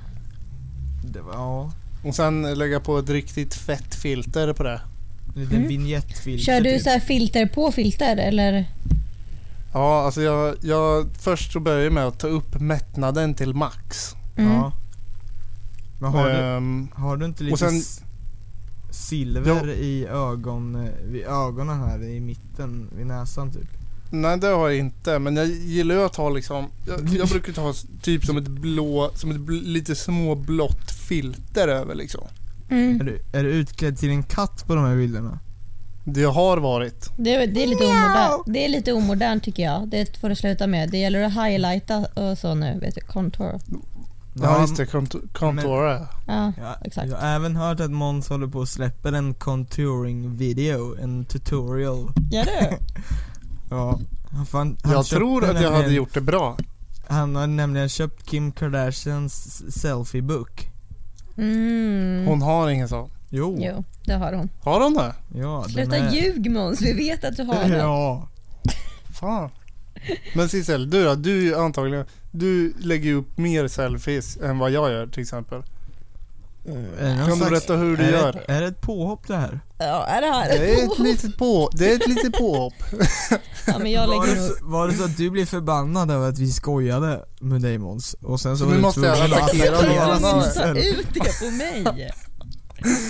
S1: det var, ja,
S2: Och sen lägga på ett riktigt fett filter på det.
S1: en liten
S3: Mm.
S1: vignettfilter
S3: Kör du
S1: typ.
S3: så här filter på filter eller?
S2: Ja, alltså jag, jag först så börjar jag med att ta upp mättnaden till max.
S3: Mm.
S1: Ja. Men har, du,
S2: Ehm,
S1: har du inte lite
S2: och sen-
S1: s- silver i ögon, eh, vid ögonen här i mitten, vid näsan typ?
S2: nej, det har jag inte. Men jag gillar ju att ha liksom, jag, jag brukar ta s- typ som ett blå, som ett bl- lite småblått filter över liksom.
S1: Är
S3: Mm.
S1: du, är du utklädd till en katt på de här bilderna?
S2: Det har varit.
S3: Det, det, är lite omodernt. det är lite omodernt tycker jag. Det får du sluta med. Det gäller att highlighta och så nu. Vet du, contour.
S2: Ja, just det, kont- kontora.
S3: Ja.
S1: Ja,
S3: Exakt.
S1: Jag har även hört att Måns håller på och släpper en contouring video, en tutorial.
S3: Gör du?
S1: Ja, han, fan, han
S2: Jag
S1: köpte
S2: tror att jag hade
S1: nämligen-
S2: gjort det bra.
S1: Han har nämligen köpt Kim Kardashians selfiebook.
S3: Mm.
S2: Hon har ingen sån.
S1: Jo.
S3: Jo, det har hon.
S2: Har hon det?
S1: Ja, den
S3: Sluta
S1: är...
S3: ljug Måns, vi vet att du har det.
S1: Ja.
S2: Fan. Men Sissel, du då? Du är ju antagligen, du lägger ju upp mer selfies än vad jag gör till exempel.
S1: Är det någon
S2: Kan du
S1: slags-
S2: berätta hur du
S1: är
S2: gör?
S1: Det, ett- är det ett påhopp det här?
S3: Ja, är det här?
S2: Det är ett litet, på, det är ett litet påhopp.
S3: Ja, men jag
S1: var,
S3: lägger
S1: det
S3: nog...
S1: så, var det så att du blev förbannad över att vi skojade med dig Måns? Och sen så
S2: Nu
S1: var du
S2: måste jag
S1: tvungen att
S2: attackera
S1: attackera Alltså,
S2: honom.
S1: Sissel.
S3: Ta ut det på mig.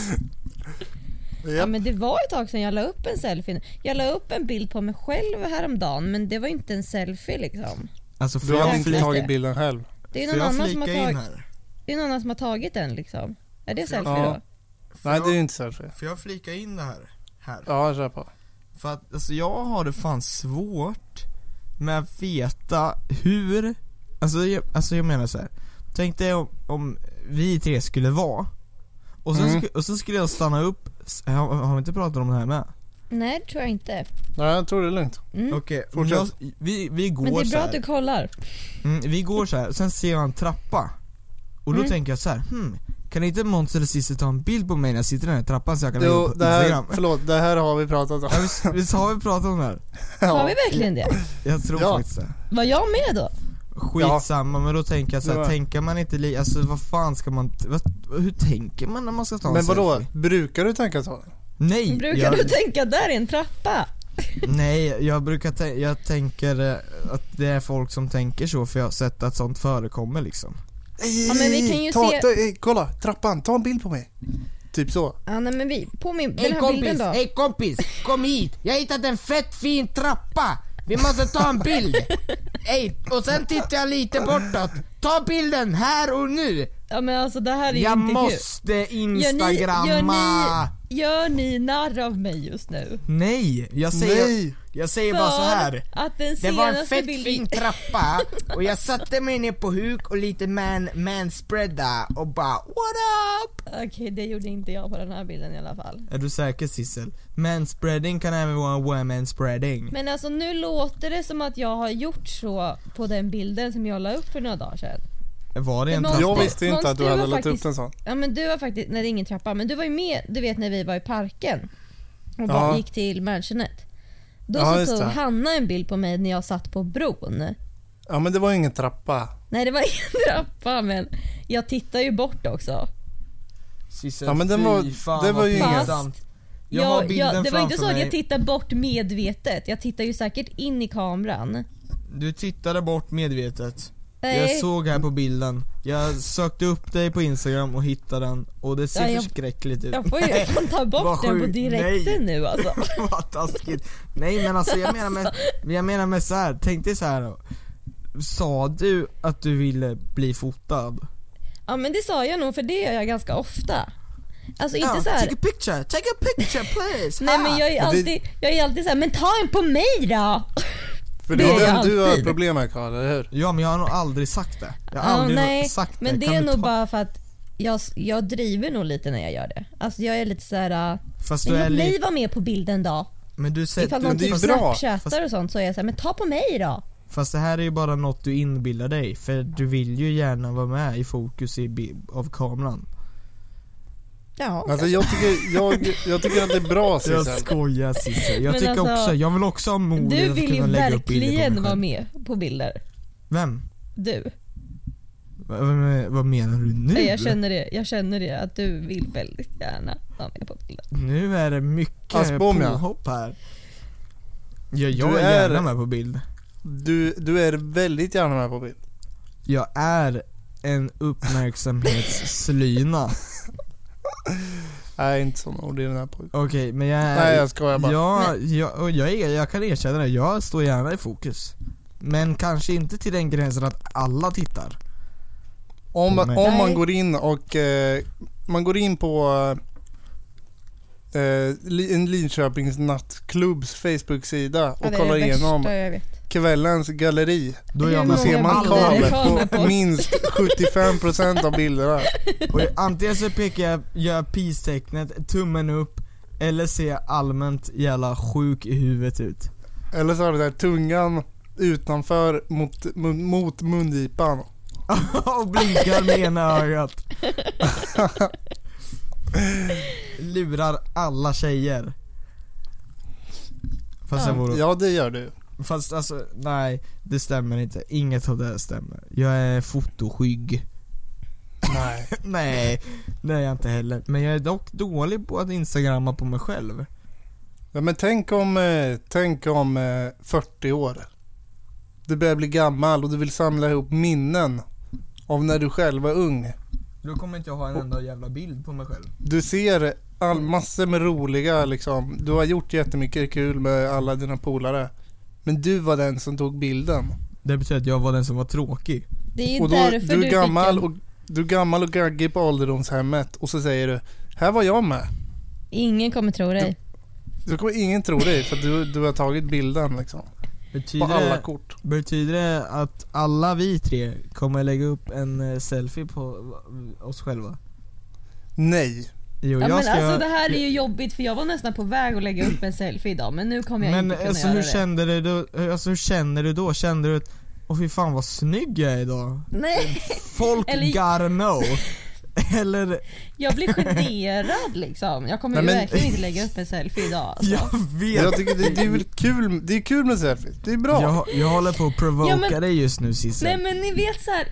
S3: Ja
S2: Japp.
S3: men det var ett tag sedan jag la upp en selfie. Jag la upp en bild på mig själv häromdagen men det var inte en selfie liksom.
S1: Alltså får
S2: Du hade
S1: jag
S2: inte
S1: flika,
S3: tagit
S2: tagit bilden själv.
S3: Det är
S1: får
S3: någon
S1: jag
S3: annan som har
S1: flika in
S3: tagit,
S1: här?
S3: det är någon annan som har tagit den liksom. Är det selfie
S2: Ja.
S3: då?
S2: Nej, det är
S1: jag,
S2: ju inte selfie.
S1: får jag flika in det här? Här.
S2: Ja, kör på.
S1: För att alltså jag har det fan svårt med att veta hur, alltså jag, alltså jag menar så här. Tänk dig om, om vi tre skulle vara, och sen,
S2: Mm.
S1: sku, och sen skulle jag stanna upp, S- har, har vi inte pratat om det här med?
S3: Nej det tror jag inte.
S2: Nej, jag tror det är lugnt.
S3: Mm.
S1: Okej, men jag,
S2: fortsätt.
S1: vi, vi går
S3: Men det är
S1: så
S3: bra
S1: här.
S3: att du kollar.
S1: Mm, vi går så här. sen ser jag en trappa. Och då
S3: Mm.
S1: tänker jag så här, hmm, kan inte Måns eller Cissi ta en bild på mig när jag sitter i den här trappan så jag kan lägga
S2: Jo,
S1: upp på
S2: det här,
S1: Instagram?
S2: förlåt, det här har vi pratat om.
S1: Ja, visst, visst har vi pratat om det här?
S3: Har
S2: Ja.
S3: vi verkligen det?
S1: Jag tror
S2: Ja.
S1: faktiskt det.
S3: Var jag med då?
S1: Skitsamma, men då tänker jag så
S2: Det
S1: här,
S2: var-
S1: tänker man inte li- alltså vad fan ska man, t- vad, hur tänker man när man ska ta en
S2: Men vadå,
S1: selfie?
S2: brukar du tänka så?
S1: Nej!
S3: Brukar
S1: jag,
S3: du tänka där är en trappa?
S1: nej, jag brukar tän- jag tänker eh, att det är folk som tänker så för jag har sett att sånt förekommer liksom.
S2: Ej,
S3: Ja, men vi kan ju
S2: ta,
S3: se-
S2: ta, ej, kolla, trappan, ta en bild på mig. Typ så.
S3: Ja, nej, men vi, på min, den
S4: Hej
S3: här
S4: kompis,
S3: bilden då.
S4: hej kompis, kom hit. Jag har hittat en fett fin trappa. Vi måste ta en bild. Hej, och sen tittar jag lite bortåt. Ta bilden här och nu.
S3: Ja, men alltså det här är ju
S4: Jag
S3: inte kul.
S4: måste
S3: Gör ni, gör,
S4: instagramma.
S3: ni, gör ni narr av mig just nu?
S1: Nej, jag säger,
S2: Nej.
S1: Jag säger bara så här.
S3: att den
S4: Det var en
S3: senaste
S4: fett
S3: bilden...
S4: fin trappa och jag satte mig ner på huk och lite man, manspreada och bara what up?
S3: Okej, det gjorde inte jag på den här bilden i alla fall.
S1: Är du säker Sissel? Manspreading kan även vara womanspreading.
S3: Men alltså nu låter det som att jag har gjort så på den bilden som jag la upp för några dagar sedan.
S1: Var det
S3: Men
S1: en
S3: Måns,
S1: trappa?
S2: Jag
S3: det-
S2: visste inte
S3: Måns,
S2: att du
S3: du
S2: hade
S3: var
S2: lagt upp
S3: faktiskt-
S2: en sån.
S3: Ja men du var faktiskt, nej det är ingen trappa, men du var ju med du vet när vi var i parken och bara
S2: Ja.
S3: gick till mansionet. Då
S2: Ja,
S3: så
S2: just
S3: tog
S2: det.
S3: Hanna en bild på mig när jag satt på bron.
S2: Ja men det var ju ingen trappa.
S3: Nej det var ingen trappa men jag tittar ju bort också.
S1: Sissel,
S2: Ja, men den
S1: fy
S2: var-
S1: fan
S2: det var
S1: vad
S2: ju ingen-
S1: pinsamt. Jag har
S3: Jag-
S1: bilden
S3: jag, det var
S1: framför
S3: inte så att
S1: mig.
S3: jag tittar bort medvetet. Jag tittar ju säkert in i kameran.
S1: Du tittade bort medvetet. Jag
S3: Nej.
S1: såg här på bilden. Jag sökte upp dig på instagram och hittade den och det ser
S3: Ja, jag-
S1: förskräckligt ut.
S3: Jag får ju fan ta
S1: Vad
S3: bort den på
S1: sjukt.
S3: direkten nu alltså.
S1: Vad taskigt. Nej men alltså jag menar med, jag menar med så här. tänk dig så här då. Sa du att du ville bli fotad?
S3: Ja men det sa jag nog för det gör jag ganska ofta. Alltså inte
S1: Ja,
S3: så här.
S1: Take a picture, take a picture please!
S3: Nej men jag är
S2: Ah.
S3: alltid, jag är alltid så här, men ta en på mig då!
S2: För det
S3: Det
S2: är
S3: är
S2: den du har
S3: alltid.
S2: problem med Karl, eller hur?
S1: Ja men jag har nog aldrig sagt det. Jag har
S3: Ja,
S1: aldrig
S3: Ah, nej,
S1: sagt
S3: men det
S1: Eh, Kan
S3: är
S1: du
S3: nog
S1: ta-
S3: bara för att jag, jag driver nog lite när jag gör det. Alltså jag är lite så här. äh,
S1: Fast
S3: men
S1: du är
S3: låt mig
S1: lite...
S3: vara med på bilden då.
S1: Men du
S3: Ifall
S1: säger...
S3: någon
S1: Du,
S2: det är
S3: typ
S2: ju bra,
S3: snapchattar
S1: fast-
S3: och sånt så är jag så här, men ta på mig då.
S1: fast det här är ju bara något du inbillar dig. För du vill ju gärna vara med i fokus i, bi- av kameran.
S3: Ja,
S2: Alltså jag tycker, jag, jag tycker att det är bra
S1: Jag
S2: Sissel.
S1: skojar Cissi. Jag
S3: Men
S1: tycker
S3: alltså,
S1: också, Oh, jag vill också ha modet
S3: du
S1: att
S3: vill ju
S1: kunna lägga upp bilder på mig själv.
S3: verkligen vara med på bilder.
S1: Vem?
S3: Du.
S1: Vad- Vad, vad menar du nu?
S3: Nej, Jag känner det, jag känner det att du vill väldigt gärna vara med på bilder.
S1: Nu är det mycket
S2: Aspbom, ja.
S1: påhopp här. Ja, jag
S2: Du
S1: är,
S2: är-
S1: gärna med på bild.
S2: Du, du är väldigt gärna med på bild.
S1: Jag är en uppmärksamhetsslyna.
S2: Nej, inte sån ordinär pojke.
S1: Okej, men jag är...
S2: Nej jag skojar bara.
S1: jag, jag, och jag, är, jag kan erkänna det, jag står gärna i fokus. Men kanske inte till den gränsen att alla tittar.
S2: Om, man- om
S3: Nej.
S2: man går in och eh, man går in på eh, Li- en Linköpings nattklubbs Facebook-sida och
S3: Ja, det är
S2: kollar
S3: det
S2: igenom
S3: värsta jag vet.
S2: kvällens galleri.
S1: Då är
S3: Hur
S1: jag
S2: Då
S1: med
S3: många
S1: på
S2: ser man
S1: alla
S3: bilder är det
S1: bilder.
S2: kablet
S3: kameror
S2: på
S3: på?
S2: minst 75% av bilderna.
S1: Och jag- antingen så pekar jag, gör jag peace-tecknet, tummen upp, eller ser jag allmänt jävla sjuk i huvudet ut.
S2: Eller så har du där tungan utanför mot, mot, mot mungipan.
S1: och blinkar med ena ögat. Lurar alla tjejer. Fast, jag
S3: Ja.
S1: vore,
S2: Ja, det gör du.
S1: fast alltså, nej det stämmer inte. Inget av det här stämmer. Jag är fotoskygg.
S2: Nej.
S1: nej, det är jag inte heller. Men jag är dock dålig på att instagramma på mig själv.
S2: Ja, men tänk om, eh, tänk om eh, 40 år. Du börjar bli gammal och du vill samla ihop minnen av när du själv var ung.
S1: Då kommer inte jag ha en enda jävla bild på mig själv.
S2: Du ser all, massor med roliga liksom. Du har gjort jättemycket kul med alla dina polare. Men du var den som tog bilden.
S1: Det betyder att jag var den som var tråkig.
S3: Det är ju
S2: Och då,
S3: därför
S2: du är gammal
S3: fick en...
S2: och du är gammal och gaggig på ålderdomshemmet och så säger du Här var jag med.
S3: Ingen kommer tro dig.
S2: Då kommer ingen tro dig för att du, du har tagit bilden liksom. På
S1: Betyder,
S2: alla kort.
S1: betyder det att alla vi tre kommer lägga upp en eh, selfie på eh, oss själva?
S2: Nej.
S1: Jo,
S3: Ja,
S1: jag
S3: men
S1: ska...
S3: alltså det här är ju jobbigt för jag var nästan på väg att lägga upp en selfie idag men nu kommer jag
S1: men
S3: inte kunna
S1: alltså,
S3: göra
S1: hur
S3: det.
S1: kände du då? Alltså, hur känner du då? Kände du att Åh fy fan vad snygg jag är idag?
S3: Nej,
S1: Folk
S3: Eller-
S1: gotta know. Eller,
S3: jag blir generad liksom. Jag kommer
S2: Nej, men-
S3: ju verkligen inte lägga upp en selfie idag. Alltså.
S1: jag vet
S2: Jag tycker det, det är väl kul, det är kul med selfies. Det är bra.
S1: jag, jag håller på att provoka
S3: Ja, men-
S1: dig just nu Sissel.
S3: Nej men ni vet så här.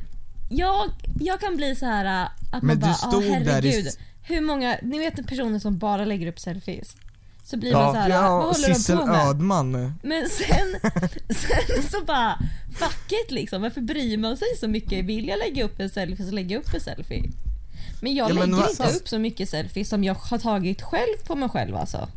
S3: Jag, jag kan bli så här äh, att
S1: Men
S3: man
S1: du
S3: bara, ah,
S1: stod där i
S3: herregud.
S1: s-
S3: Hur många, ni vet personer som bara lägger upp selfies. Så blir man så här, vad håller
S1: Sissel
S3: de på med?
S1: Ödman.
S3: Men sen, sen så bara, fuck it liksom. Varför bryr man sig så mycket? Vill jag lägga upp en selfie så lägger jag upp en selfie. Men jag
S1: Ja, men
S3: lägger
S1: vad-
S3: inte upp så mycket selfies som jag har tagit själv på mig själv alltså.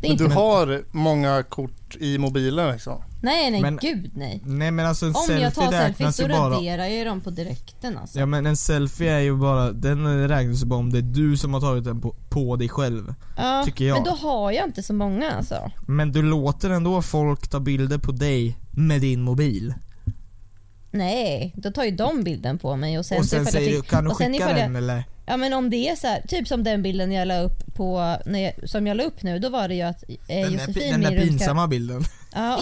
S3: Det är
S2: Men
S3: inte,
S2: du har många kort i mobilen liksom.
S3: nej, nej,
S1: Men-
S3: gud nej.
S1: Nej men alltså en
S3: Om jag
S1: selfie
S3: tar selfies
S1: räknas
S3: så
S1: ju bara
S3: raderar jag ju dem på direkten alltså.
S1: Ja men en selfie är ju bara, den räknas ju bara om det är du som har tagit den på, på dig själv.
S3: Ja,
S1: tycker jag.
S3: Men då har jag inte så många alltså.
S1: Men du låter ändå folk ta bilder på dig med din mobil.
S3: Nej, då tar ju de bilden på mig och sen,
S1: och sen
S3: ifall jag
S1: säger du,
S3: tyck-
S1: kan du
S3: och sen
S1: skicka
S3: ifall jag-
S1: den eller?
S3: Ja men om det är så här, typ som den bilden jag la upp på, när jag, som jag la upp nu, då var det ju att eh,
S1: Den där,
S3: Josefin,
S1: pi- den där
S3: min
S1: pinsamma bilden.
S3: Ja.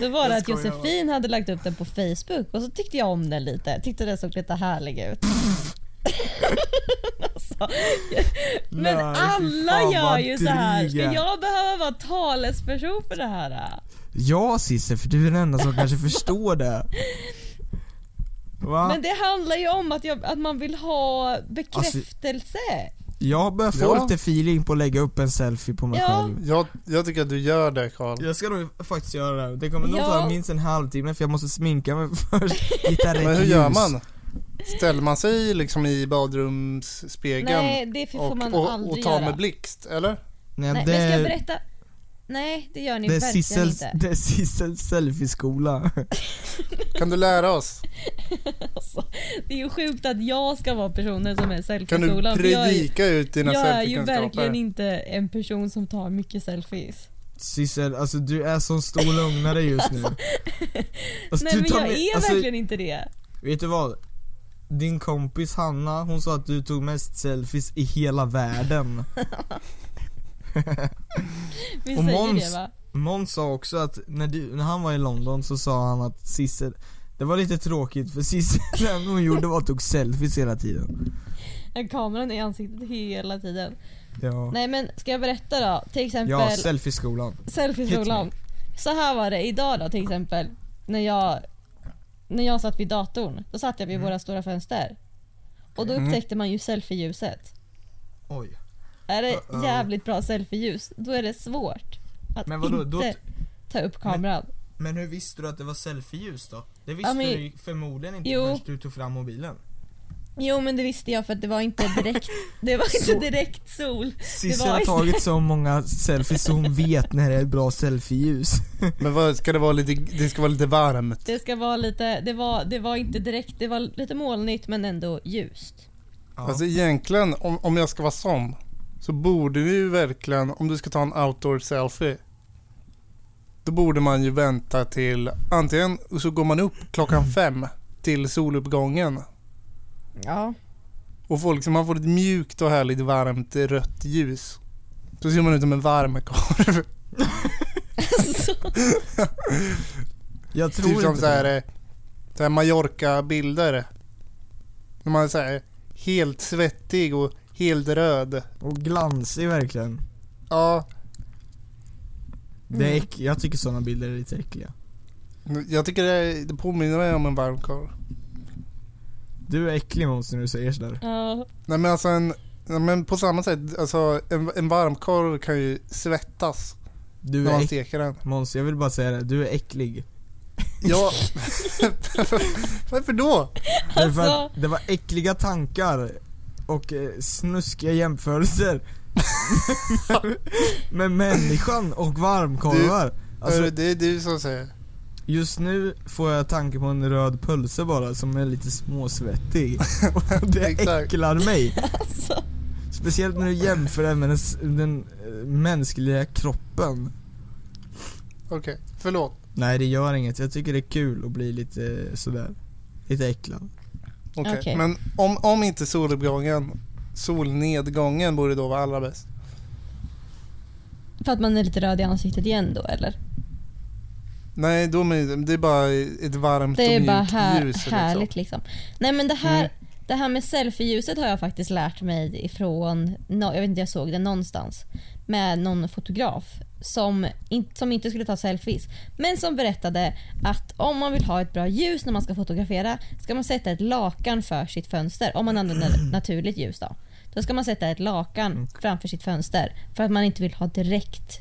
S3: Då var det
S2: Jag
S3: att
S2: skojar bara.
S3: Josefin hade lagt upp den på Facebook och så tyckte jag om den lite, tyckte den såg lite härlig ut. alltså, men
S1: Nej, fy
S3: alla
S1: fan,
S3: gör
S1: vad
S3: ju så här. Ska
S1: dryga.
S3: jag behöva vara talesperson för det här? äh?
S1: Ja Cissi, för du är den enda som kanske förstår det. Va?
S3: Men det handlar ju om att, jag, att man vill ha
S1: Alltså,
S3: bekräftelse.
S1: Jag börjar få
S2: Ja.
S1: lite feeling på att lägga upp en selfie på mig
S3: Ja.
S1: själv.
S2: Jag, jag tycker att du gör det Karl.
S1: Jag ska nog faktiskt göra det. Det kommer nog
S3: Ja.
S1: ta minst en halvtimme för jag måste sminka mig först. Hitta rätt
S2: Men hur gör
S1: ljus.
S2: man? Ställer man sig liksom i badrumsspegeln
S3: Nej, det får
S2: och,
S3: man
S2: och, och
S3: aldrig
S2: tar
S3: göra.
S2: med blixt eller?
S1: Nej,
S3: Nej,
S1: det,
S3: men ska jag berätta? Nej, det gör ni
S1: det är
S3: verkligen
S1: Sissels,
S3: inte.
S1: det är Sissels selfieskola.
S2: Kan du lära oss?
S3: Alltså, det är ju sjukt att jag ska vara personen som är
S2: Kan du
S3: selfieskolan. för jag är-
S2: predika ut dina
S3: Jag är ju verkligen
S2: selfiekunskaper?
S3: inte en person som tar mycket selfies.
S1: Sissel, alltså du är sån stor lugnare just nu. Alltså,
S3: Nej
S1: du
S3: men
S1: tar
S3: jag
S1: med-
S3: är
S1: alltså,
S3: verkligen inte det.
S1: Vet du vad? Din kompis Hanna, hon sa att du tog mest selfies i hela världen.
S3: Vi
S1: och
S3: säger
S1: moms-
S3: det va?
S1: Måns sa också att när, du, när han var i London så sa han att Sissel det var lite tråkigt för Sissel det enda hon gjorde var att tog selfies hela tiden.
S3: Ja, Kameran är i ansiktet hela tiden.
S1: Ja,
S3: Nej men ska jag berätta då? Till exempel
S1: ja selfieskolan.
S3: selfieskolan. Så här var det idag då till exempel. När jag, när jag satt vid datorn. Då satt jag vid
S1: Mm.
S3: våra stora fönster. Och då upptäckte man ju selfie-ljuset.
S1: Oj.
S3: Är det
S1: Uh-oh.
S3: jävligt bra selfie-ljus, då är det svårt att
S1: Men vadå, då-
S3: inte ta upp kameran.
S1: Men hur visste du att det var selfieljus då? Det
S3: visste men- du
S1: förmodligen
S3: inte Jo. förrän
S1: du tog fram mobilen.
S3: Jo men det visste jag för att det var inte direkt, det var inte direkt sol.
S1: Sissel
S3: Det var-
S1: har tagit så många selfies så hon vet när det är bra selfieljus.
S2: Men vad, ska det vara lite, det ska vara lite varmt?
S3: Det ska vara lite, det var, det var inte direkt, det var lite molnigt men ändå ljust.
S1: Ja.
S2: Alltså egentligen, om, om jag ska vara sån, så borde vi ju verkligen, om du ska ta en outdoor selfie, då borde man ju vänta till, antingen så går man upp
S1: Mm.
S2: klockan fem till soluppgången
S3: Ja.
S2: och folk som man får ett mjukt och härligt varmt rött ljus. Så ser man ut som en varmkorv.
S3: Alltså,
S1: Jag tror
S2: Typ som
S1: inte
S2: så
S1: det.
S2: här, eh, så här Mallorca-bilder. När man är så här, helt svettig och helt röd.
S1: Och glansig verkligen.
S2: Ja,
S3: Mm.
S1: Det är äck- jag tycker såna bilder är lite äckliga.
S2: Jag tycker det, det påminner mig om en varmkorv.
S1: Du är äcklig Måns när du säger sådär.
S3: ja.
S2: Nej men alltså en, nej, men på samma sätt, alltså en, en varmkorv kan ju svettas
S1: Du
S2: när
S1: är
S2: man
S1: äck-
S2: steker den.
S1: Måns, jag vill bara säga det, du är äcklig.
S2: Ja, varför då?
S1: Därför
S3: Alltså.
S1: att det var äckliga tankar och eh, snuskiga jämförelser. med människan och varmkorvar. Alltså,
S2: Hörru, Eh, det är du som säger.
S1: just nu får jag tanke på en röd pölse bara som är lite småsvettig. Och det
S2: Exakt.
S1: äcklar mig.
S3: Alltså.
S1: Speciellt när du jämför den med den, s- den eh, mänskliga kroppen.
S2: Okej, förlåt.
S1: Nej det gör inget, jag tycker det är kul att bli lite eh, sådär, lite äcklad.
S2: Okej.
S3: Okej.
S2: Men om, om inte soluppgången, solnedgången borde då vara allra bäst.
S3: För att man är lite röd i ansiktet igen då eller?
S2: Nej, då är det är bara ett varmt
S3: Det
S2: och
S3: är
S2: mjukt
S3: bara här,
S2: ljus. liksom.
S3: härligt liksom. Nej men det här,
S2: Mm.
S3: det här med selfie-ljuset har jag faktiskt lärt mig ifrån, nå- jag vet inte jag såg det någonstans, med någon fotograf som, in, som inte skulle ta selfies. Men som berättade att om man vill ha ett bra ljus när man
S2: Mm.
S3: ska fotografera ska man sätta ett lakan för sitt fönster om man använder naturligt ljus då. Då ska man sätta ett lakan framför sitt fönster för att man inte vill ha direkt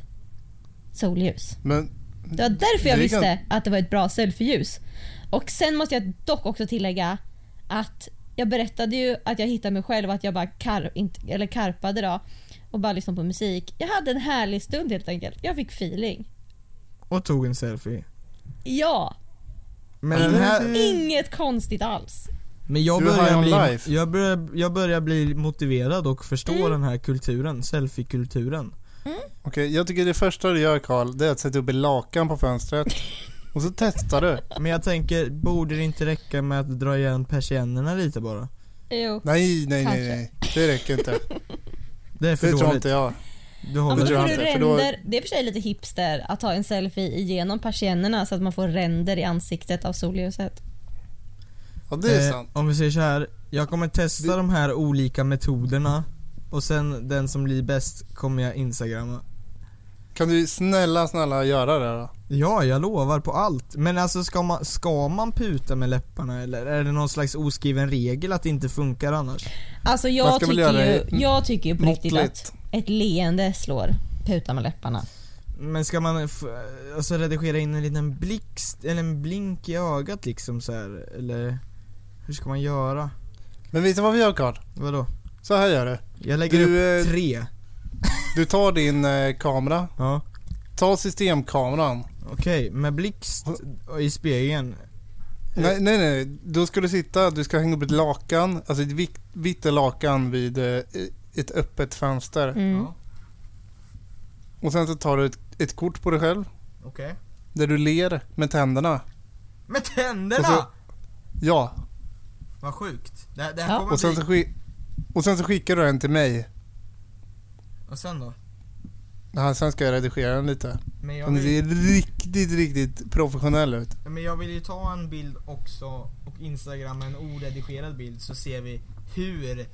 S3: solljus.
S2: Men
S3: Det var därför jag
S2: Det är
S3: visste
S2: gans-
S3: att det var ett bra selfieljus. Och sen måste jag dock också tillägga att jag berättade ju att jag hittade mig själv och att jag bara kar- inte, eller karpade då och bara lyssnade på musik. Jag hade en härlig stund helt enkelt. Jag fick feeling.
S1: Och tog en selfie.
S3: Ja,
S1: Men, den här,
S2: Mm.
S3: inget konstigt alls.
S1: men jag,
S2: Du är high
S1: börjar
S2: on
S1: bli,
S2: life.
S1: jag, börjar, jag börjar bli motiverad och förstå den här kulturen, selfie-kulturen.
S2: okej, jag tycker det första du gör Karl, det är att sätta upp ett lakan på fönstret. Och så testar du.
S1: Men jag tänker, borde det inte räcka med att dra igen persiennerna lite bara?
S3: Jo.
S2: Nej, nej, nej,
S3: Kanske.
S2: nej. Det räcker inte.
S1: Det är för
S2: Det tror
S1: dåligt.
S2: inte jag.
S1: Du
S3: Ja,
S1: håller
S3: men
S2: det
S3: då
S2: tror
S3: får
S2: jag
S3: du
S2: inte, för då-
S3: ränder. Det är för sig lite hipster att ta en selfie igenom persiennerna så att man får ränder i ansiktet av solljuset.
S2: Ja, det är
S1: Eh,
S2: sant.
S1: Om vi säger så här, jag kommer testa de här olika metoderna och sen den som blir bäst kommer jag instagramma.
S2: Kan du snälla, snälla göra det då?
S1: Ja, jag lovar på allt. Men alltså ska man, ska man puta med läpparna eller är det någon slags oskriven regel att det inte funkar annars?
S3: Alltså
S2: Man
S3: jag
S2: ska väl
S3: tycker,
S2: göra
S3: ju,
S2: det
S3: jag tycker ju på riktigt
S2: måttligt.
S3: att ett leende slår puta med läpparna.
S1: Men ska man f- alltså redigera in en liten blixt eller en blink i ögat liksom så här eller hur ska man göra?
S2: Men vet du vad vi gör Karl?
S1: Vadå?
S2: Så här gör du.
S1: Jag lägger
S2: Du,
S1: upp
S2: eh,
S1: tre.
S2: Du tar din eh, kamera,
S1: Ja.
S2: ta systemkameran.
S1: Eh. Okej, med blixt i spegeln.
S2: Nej, nej, nej. Då ska du sitta, du ska hänga upp ett lakan, alltså ett vitt, vitt lakan vid eh, ett öppet fönster.
S3: Mm.
S1: Ja.
S2: Och sen så tar du ett, ett kort på dig själv,
S1: Okej.
S2: där du ler med tänderna.
S1: Med tänderna!
S2: Och så- Ja,
S1: Vad sjukt. Det, det här
S3: Ja.
S1: kommer
S2: och sen, så
S1: bli...
S2: skick- och sen så skickar du den till mig.
S1: Och sen då?
S2: Ja, sen ska jag redigera den lite.
S1: Men jag,
S2: Den
S1: vill,
S2: ser riktigt, riktigt professionell ut.
S1: men jag vill ju ta en bild också och instagramma en oredigerad bild så ser vi hur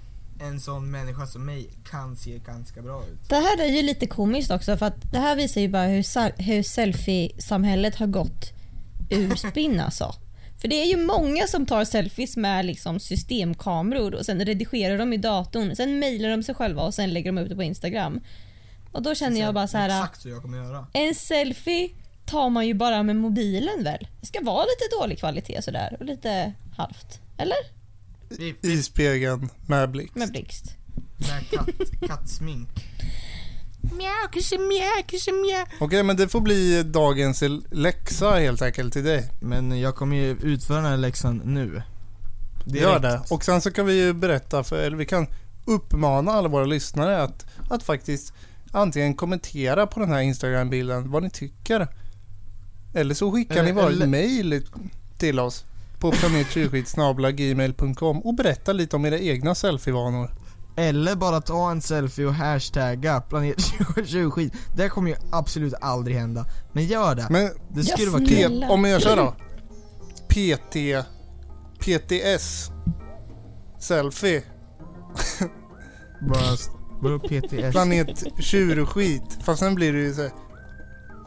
S1: en sån människa som mig kan se ganska bra ut.
S3: Det här är ju lite komiskt också för att det här visar ju bara hur, sa- hur selfie-samhället har gått ur spinn alltså. För det är ju många som tar selfies med liksom systemkameror och sen redigerar de i datorn, sen mejlar de sig själva och sen lägger de ut det på Instagram. Och då känner jag bara så här. äh,
S1: Exakt så jag kommer göra.
S3: En selfie tar man ju bara med mobilen väl? Det ska vara lite dålig kvalitet sådär och lite halvt. Eller?
S1: Vi,
S2: I spegeln med blick.
S3: Med blixt.
S1: med katt, kattsmink.
S2: Okej, men det får bli dagens läxa helt enkelt till dig.
S1: Men jag kommer ju utföra den här läxan nu.
S2: Gör det. Och sen så kan vi ju berätta för, eller vi kan uppmana alla våra lyssnare att, att faktiskt antingen kommentera på den här Instagram-bilden vad ni tycker. Eller så skickar
S1: Eller-
S2: ni bara
S1: eller-
S2: ett mail till oss på planettjurskitsnabla.gmail.com och berätta lite om era egna selfievanor.
S1: Eller bara ta en selfie och hashtagga planet 2020. Det kommer ju absolut aldrig hända. Men gör det.
S2: Men
S1: Det skulle
S3: Ja,
S1: vara
S2: P-
S1: kul.
S3: Snälla.
S2: om jag kör då. PT... PTS. Selfie.
S1: Bara, bara PTS.
S2: Planet tjurskit. Fast sen blir det ju så här,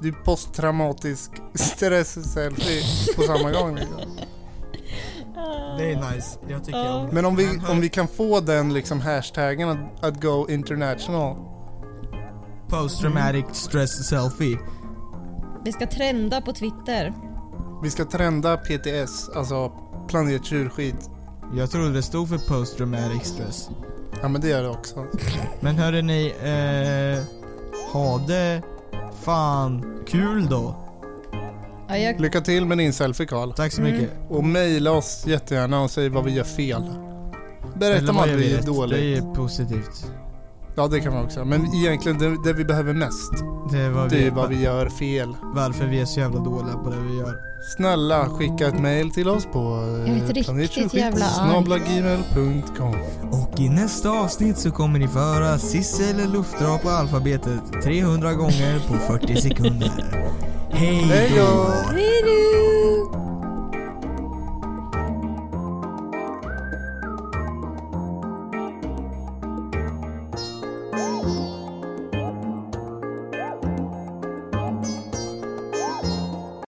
S2: Du är posttraumatisk stress-selfie på samma gång. Liksom.
S1: Det är nice, jag tycker om det.
S2: Men om vi, om vi kan få den liksom hashtaggen att, att go international.
S1: Post traumatic stress selfie.
S3: Vi ska trenda på Twitter.
S2: Vi ska trenda PTS, alltså planet tjurskit.
S1: Jag trodde det stod för post traumatic stress.
S2: Ja men det gör det också.
S1: Men hörde ni, eh, ha det fan kul då.
S3: Ja, jag,
S2: Lycka till med din selfie Karl.
S1: Tack så
S3: Mm.
S1: mycket.
S2: Och mejla oss jättegärna och säg vad vi gör fel. Berätta
S1: Eller
S2: om
S1: vad
S2: att
S1: gör
S2: vi är
S1: rätt?
S2: dåliga.
S1: Det är positivt.
S2: Ja det kan man också. Men egentligen det, det vi behöver mest,
S1: Det är, vad
S2: det är
S1: vi,
S2: ju vad vi gör fel.
S1: varför vi är så jävla dåliga på det vi gör.
S2: Snälla skicka ett mejl till oss på eh,
S3: är inte riktigt jävla arg.
S2: planetsnabelagmail.com
S1: Och i nästa avsnitt så kommer ni få höra Sissel luftra på alfabetet 300 gånger på 40 sekunder. Hej
S2: Hej
S1: då!
S2: då!
S3: hej då!